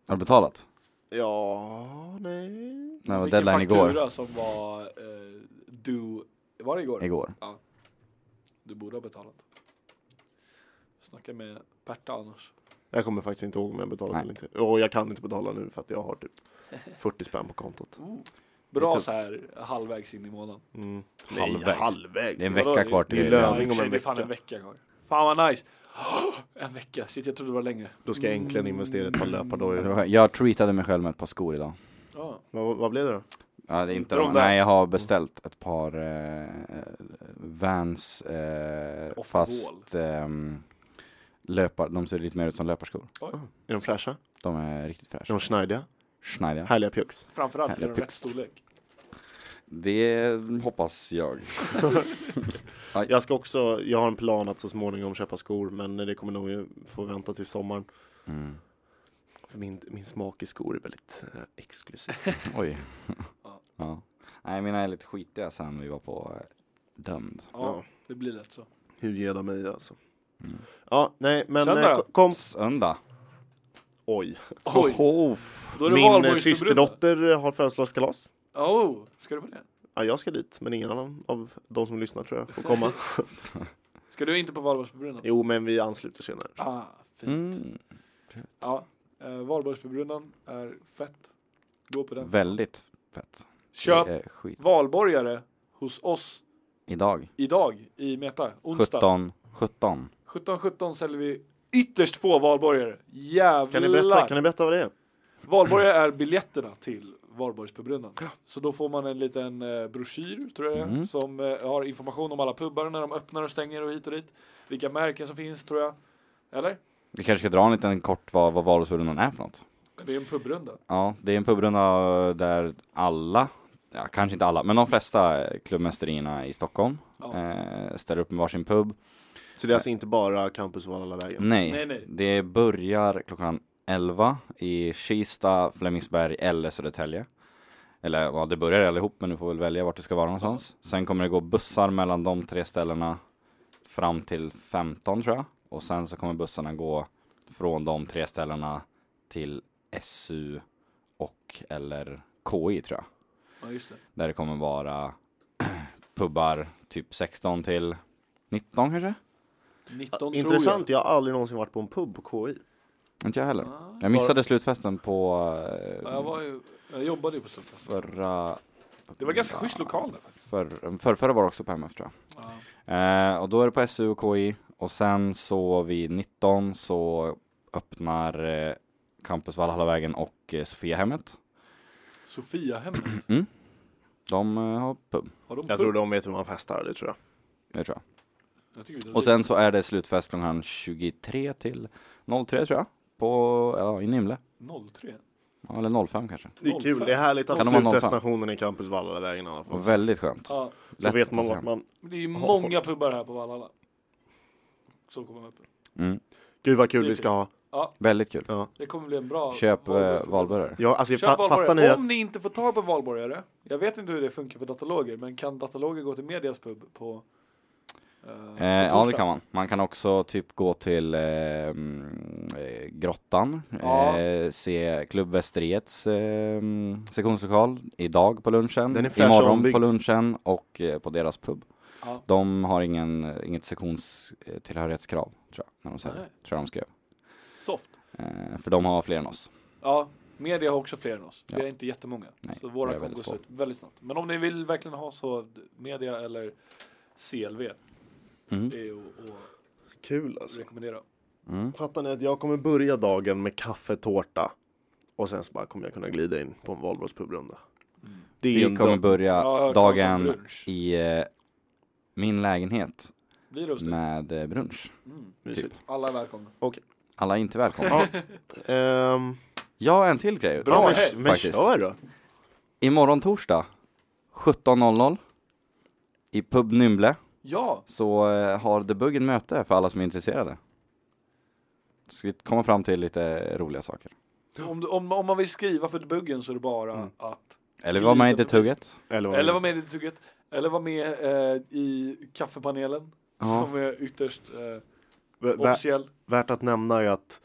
C: Har du betalat?
B: ja, nej.
C: Nej, det var
A: Fick en
C: deadline igår.
A: faktura som var eh, du... Var det igår?
C: Igår.
A: Du borde ha betalat. Snacka med Berta annars.
B: Jag kommer faktiskt inte ihåg om jag betalat
C: Nej.
B: eller inte. Och jag kan inte betala nu för att jag har typ 40 spänn på kontot.
C: Det är
A: Bra
C: tufft.
A: så här halvvägs in i månaden.
B: Mm.
C: Halvvägs.
B: Nej, halvvägs.
C: Det är en
A: Vadå,
C: vecka kvar
B: det är
C: till
B: lön.
A: Ja, i och för
B: om
A: sig,
B: en
A: det är fan
B: vecka.
A: en vecka kvar. Fan vad nice! En vecka, shit jag trodde det var längre.
B: Då ska jag äntligen investera i ett par löpardojor.
C: Jag tweetade mig själv med ett par skor idag.
A: Ja.
B: Vad, vad blev det då?
C: Ja, det är inte
A: Inte de
C: de.
A: där.
C: Nej, jag har beställt ett par eh, Vans eh,
A: Off the
C: fast ehm, löpar, de ser lite mer ut som löparskor.
B: Ah. Är de fräscha?
C: De är riktigt
B: Är
C: fräscha.
B: de schneidiga?
C: Schneider.
B: Härliga pjucks?
A: Framförallt är
C: Härliga
A: den rätt
C: pix.
A: storlek.
C: Det hoppas jag.
B: Jag ska också, jag har en plan att så småningom köpa skor men det kommer nog ju få vänta till sommaren.
C: Mm.
B: För min, min smak i skor är väldigt eh, exklusiv.
C: Oj.
A: Ja.
C: ja. Nej, mina är lite skitiga sen vi var på eh, Dömd.
A: Ja,
B: Ja.
A: det blir lätt så.
B: Hur ger de mig alltså?
C: Mm.
B: Ja, nej men
A: Söndag.
B: eh, ko- kom.
C: Söndag.
B: Oj.
A: Oj,
C: Hoho.
A: då är det
B: Min eh,
A: valborgsbrunna.
B: systerdotter eh, har födelsedagskalas.
A: Oh, ska du på det?
B: Ja, jag ska dit men ingen annan av de som lyssnar tror jag får komma.
A: Ska du inte på valborgsbrunnan?
B: jo men vi ansluter senare.
A: Ah, fint.
C: Mm.
A: Ja, eh, valborgsbrunnan är fett. Gå på den.
C: Väldigt fett.
A: Köp
C: Det är skit.
A: valborgare hos oss
C: Idag.
A: idag i Meta, onsdag.
C: 17. 17.
A: 17-17 säljer vi ytterst få valborgare. Jävlar!
B: Kan ni berätta, kan ni berätta vad det är?
A: Valborgare är biljetterna till Valborgspubrunnan. Så då får man en liten eh, broschyr, tror jag det är,
C: Mm.
A: som eh, har information om alla pubbar när de öppnar och stänger och hit och dit. Vilka märken som finns, tror jag. Eller?
C: Vi kanske ska dra en liten kort vad, vad Valhällsrundan är för något.
A: Det är en pubrunda.
C: Ja, det är en pubrunda där alla, ja kanske inte alla, men de flesta eh, klubbmästerierna i Stockholm
A: Ja.
C: eh, ställer upp med varsin pub.
B: Så det är alltså inte bara Campus Valhalla vägen?
C: Nej,
A: Nej, nej.
C: det börjar klockan 11 i Kista, Flemingsberg eller Södertälje. Eller ja, det börjar allihop, men du får väl välja vart du ska vara någonstans. Sen kommer det gå bussar mellan de tre ställena fram till 15 tror jag. Och sen så kommer bussarna gå från de tre ställena till SU och eller KI tror jag.
A: Ja, just det.
C: Där det kommer vara pubbar typ 16 till 19 kanske?
A: 19
B: Intressant, jag. har aldrig någonsin varit på en pub på KI.
C: Inte jag heller.
A: tror jag. Ah,
C: Jag missade slutfesten på eh,
A: ja, jag, var ju, jag jobbade ju på Sundfest.
C: förra...
A: Det var ganska schysst lokal där.
C: För, för, förra var det också på MF tror jag.
A: Ja.
C: Eh, och då är det på SU och KI och sen så vid 19 så öppnar eh, Campus Valhallavägen och eh, Sofiahemmet. Mm.
A: Sofiahemmet,
C: De eh, har pub,
A: har de pub?
B: Jag tror de vet hur man festar, det tror jag.
C: det tror
A: Jag tycker vi drar
C: jag. Och sen så är det slutfest klockan 23 till 03 tror jag. På, ja, i Nimle.
A: dit. 03.
C: Ja, Eller 05 kanske.
B: Det är kul, det är härligt att
C: Kan de ha någon
B: slutdestinationen i Campus Valhalla vägen i alla fall.
C: Och väldigt skönt.
A: Ja,
B: alltså. Så
C: Lätt
B: vet
C: att ta
B: man
C: sig hem.
B: vart man...
A: men det är ju
B: Har-
A: många pubbar här på Valhalla. Som kommer upp.
C: Mm.
B: Gud vad kul
A: Det är
B: vi ska ha.
C: Väldigt kul.
B: Ja.
A: Det kommer bli en bra
C: Köp eh,
A: Valborgsbrunna.
C: valborgare.
B: Ja, alltså,
A: Köp
B: fa- fattar ni
A: valborgare.
B: att...
A: Om ni inte får tag på valborgare, jag vet inte hur det funkar för dataloger, men kan dataloger gå till medias pub på eh, på
C: Eh, ja det
A: torsdag?
C: kan man. Man kan också typ gå till eh, mm, eh, Grottan,
A: Ja.
C: eh, se Klubb Västeriets eh, mm, sektionslokal idag på lunchen,
B: Den är fräsch och
C: imorgon
B: ombyggd.
C: på lunchen och eh, på deras pub.
A: Ja.
C: De har ingen, eh, inget sektionstillhörighetskrav tror jag, när de säljer,
A: Nej.
C: tror jag de skrev.
A: Soft.
C: Eh, för de har fler än oss.
A: Ja, media har också fler än oss. Vi
C: Ja.
A: är inte jättemånga.
C: Nej,
A: så
C: vi
A: våra
C: är
A: kommer
C: väldigt
A: gås
C: få.
A: ut väldigt snabbt. Men om ni vill verkligen ha så media eller CLV,
C: Mm.
A: det är ju att
B: Kul
A: att
B: alltså.
A: rekommendera.
C: Mm.
B: Fattar ni att jag kommer börja dagen med kaffetårta och sen så bara kommer jag kunna glida in på en valborgspubrunda. Det är
C: Vi
B: en
C: kommer
B: dum-
A: Jag
C: börja
A: har hört talas om
C: dagen
A: brunch.
C: i eh, min lägenhet
A: Blir det hos dig?
C: med eh, brunch.
A: Mm.
B: Mysigt.
A: Alla är välkomna.
C: Alla är inte välkomna.
B: Ja. Ehm,
C: Jag har en till grej
B: bra,
A: Ja,
B: men, men
C: faktiskt.
B: kör då.
C: Imorgon torsdag 17.00 i Pub Nymble
A: Ja,
C: så eh, har The Bugg en möte för alla som är intresserade. Ska vi komma fram till lite roliga saker.
A: om, du, om, om man vill skriva för buggen så är det bara
B: Mm.
A: att
C: Eller var med i Tugget.
B: Eller,
A: Eller var med i tugget. Eller var med eh, i kaffepanelen.
C: Ja.
A: Som är ytterst eh,
B: Vä- vä-
A: officiell.
B: Värt att nämna är att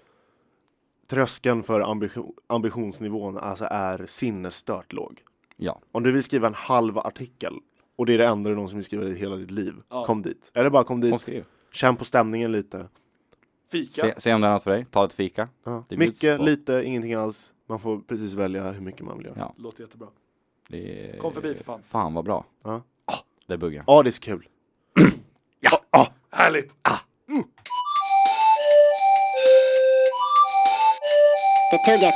B: tröskeln för ambition, ambitionsnivån alltså är sinnesstört låg.
C: Ja.
B: Om du vill skriva en halv artikel och det är det enda du någonsin vill skriva i hela ditt liv,
A: Ja.
B: kom dit. Eller bara kom
C: Och
B: dit,
C: skriv.
B: känn på stämningen lite.
A: Fika.
C: Se, se om det är något för dig. Ta ett fika.
B: Ja.
C: Det
B: Mycket,
C: bjuds på.
B: lite, ingenting alls. Man får precis välja hur mycket man vill göra.
C: Ja.
B: Ja,
A: Låter jättebra.
C: Det är...
A: Kom förbi för fan.
C: Fan vad bra.
B: Ja.
C: Ah, The Buggen.
B: det är så kul.
A: Härligt!
D: The Tugget.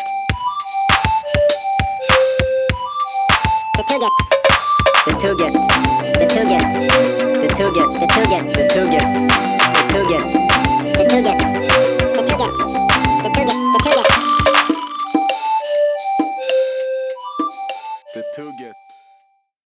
D: det tugget. Det tugget. Det tugget. Det tugget. Det tugget. Det tugget. Det tugget.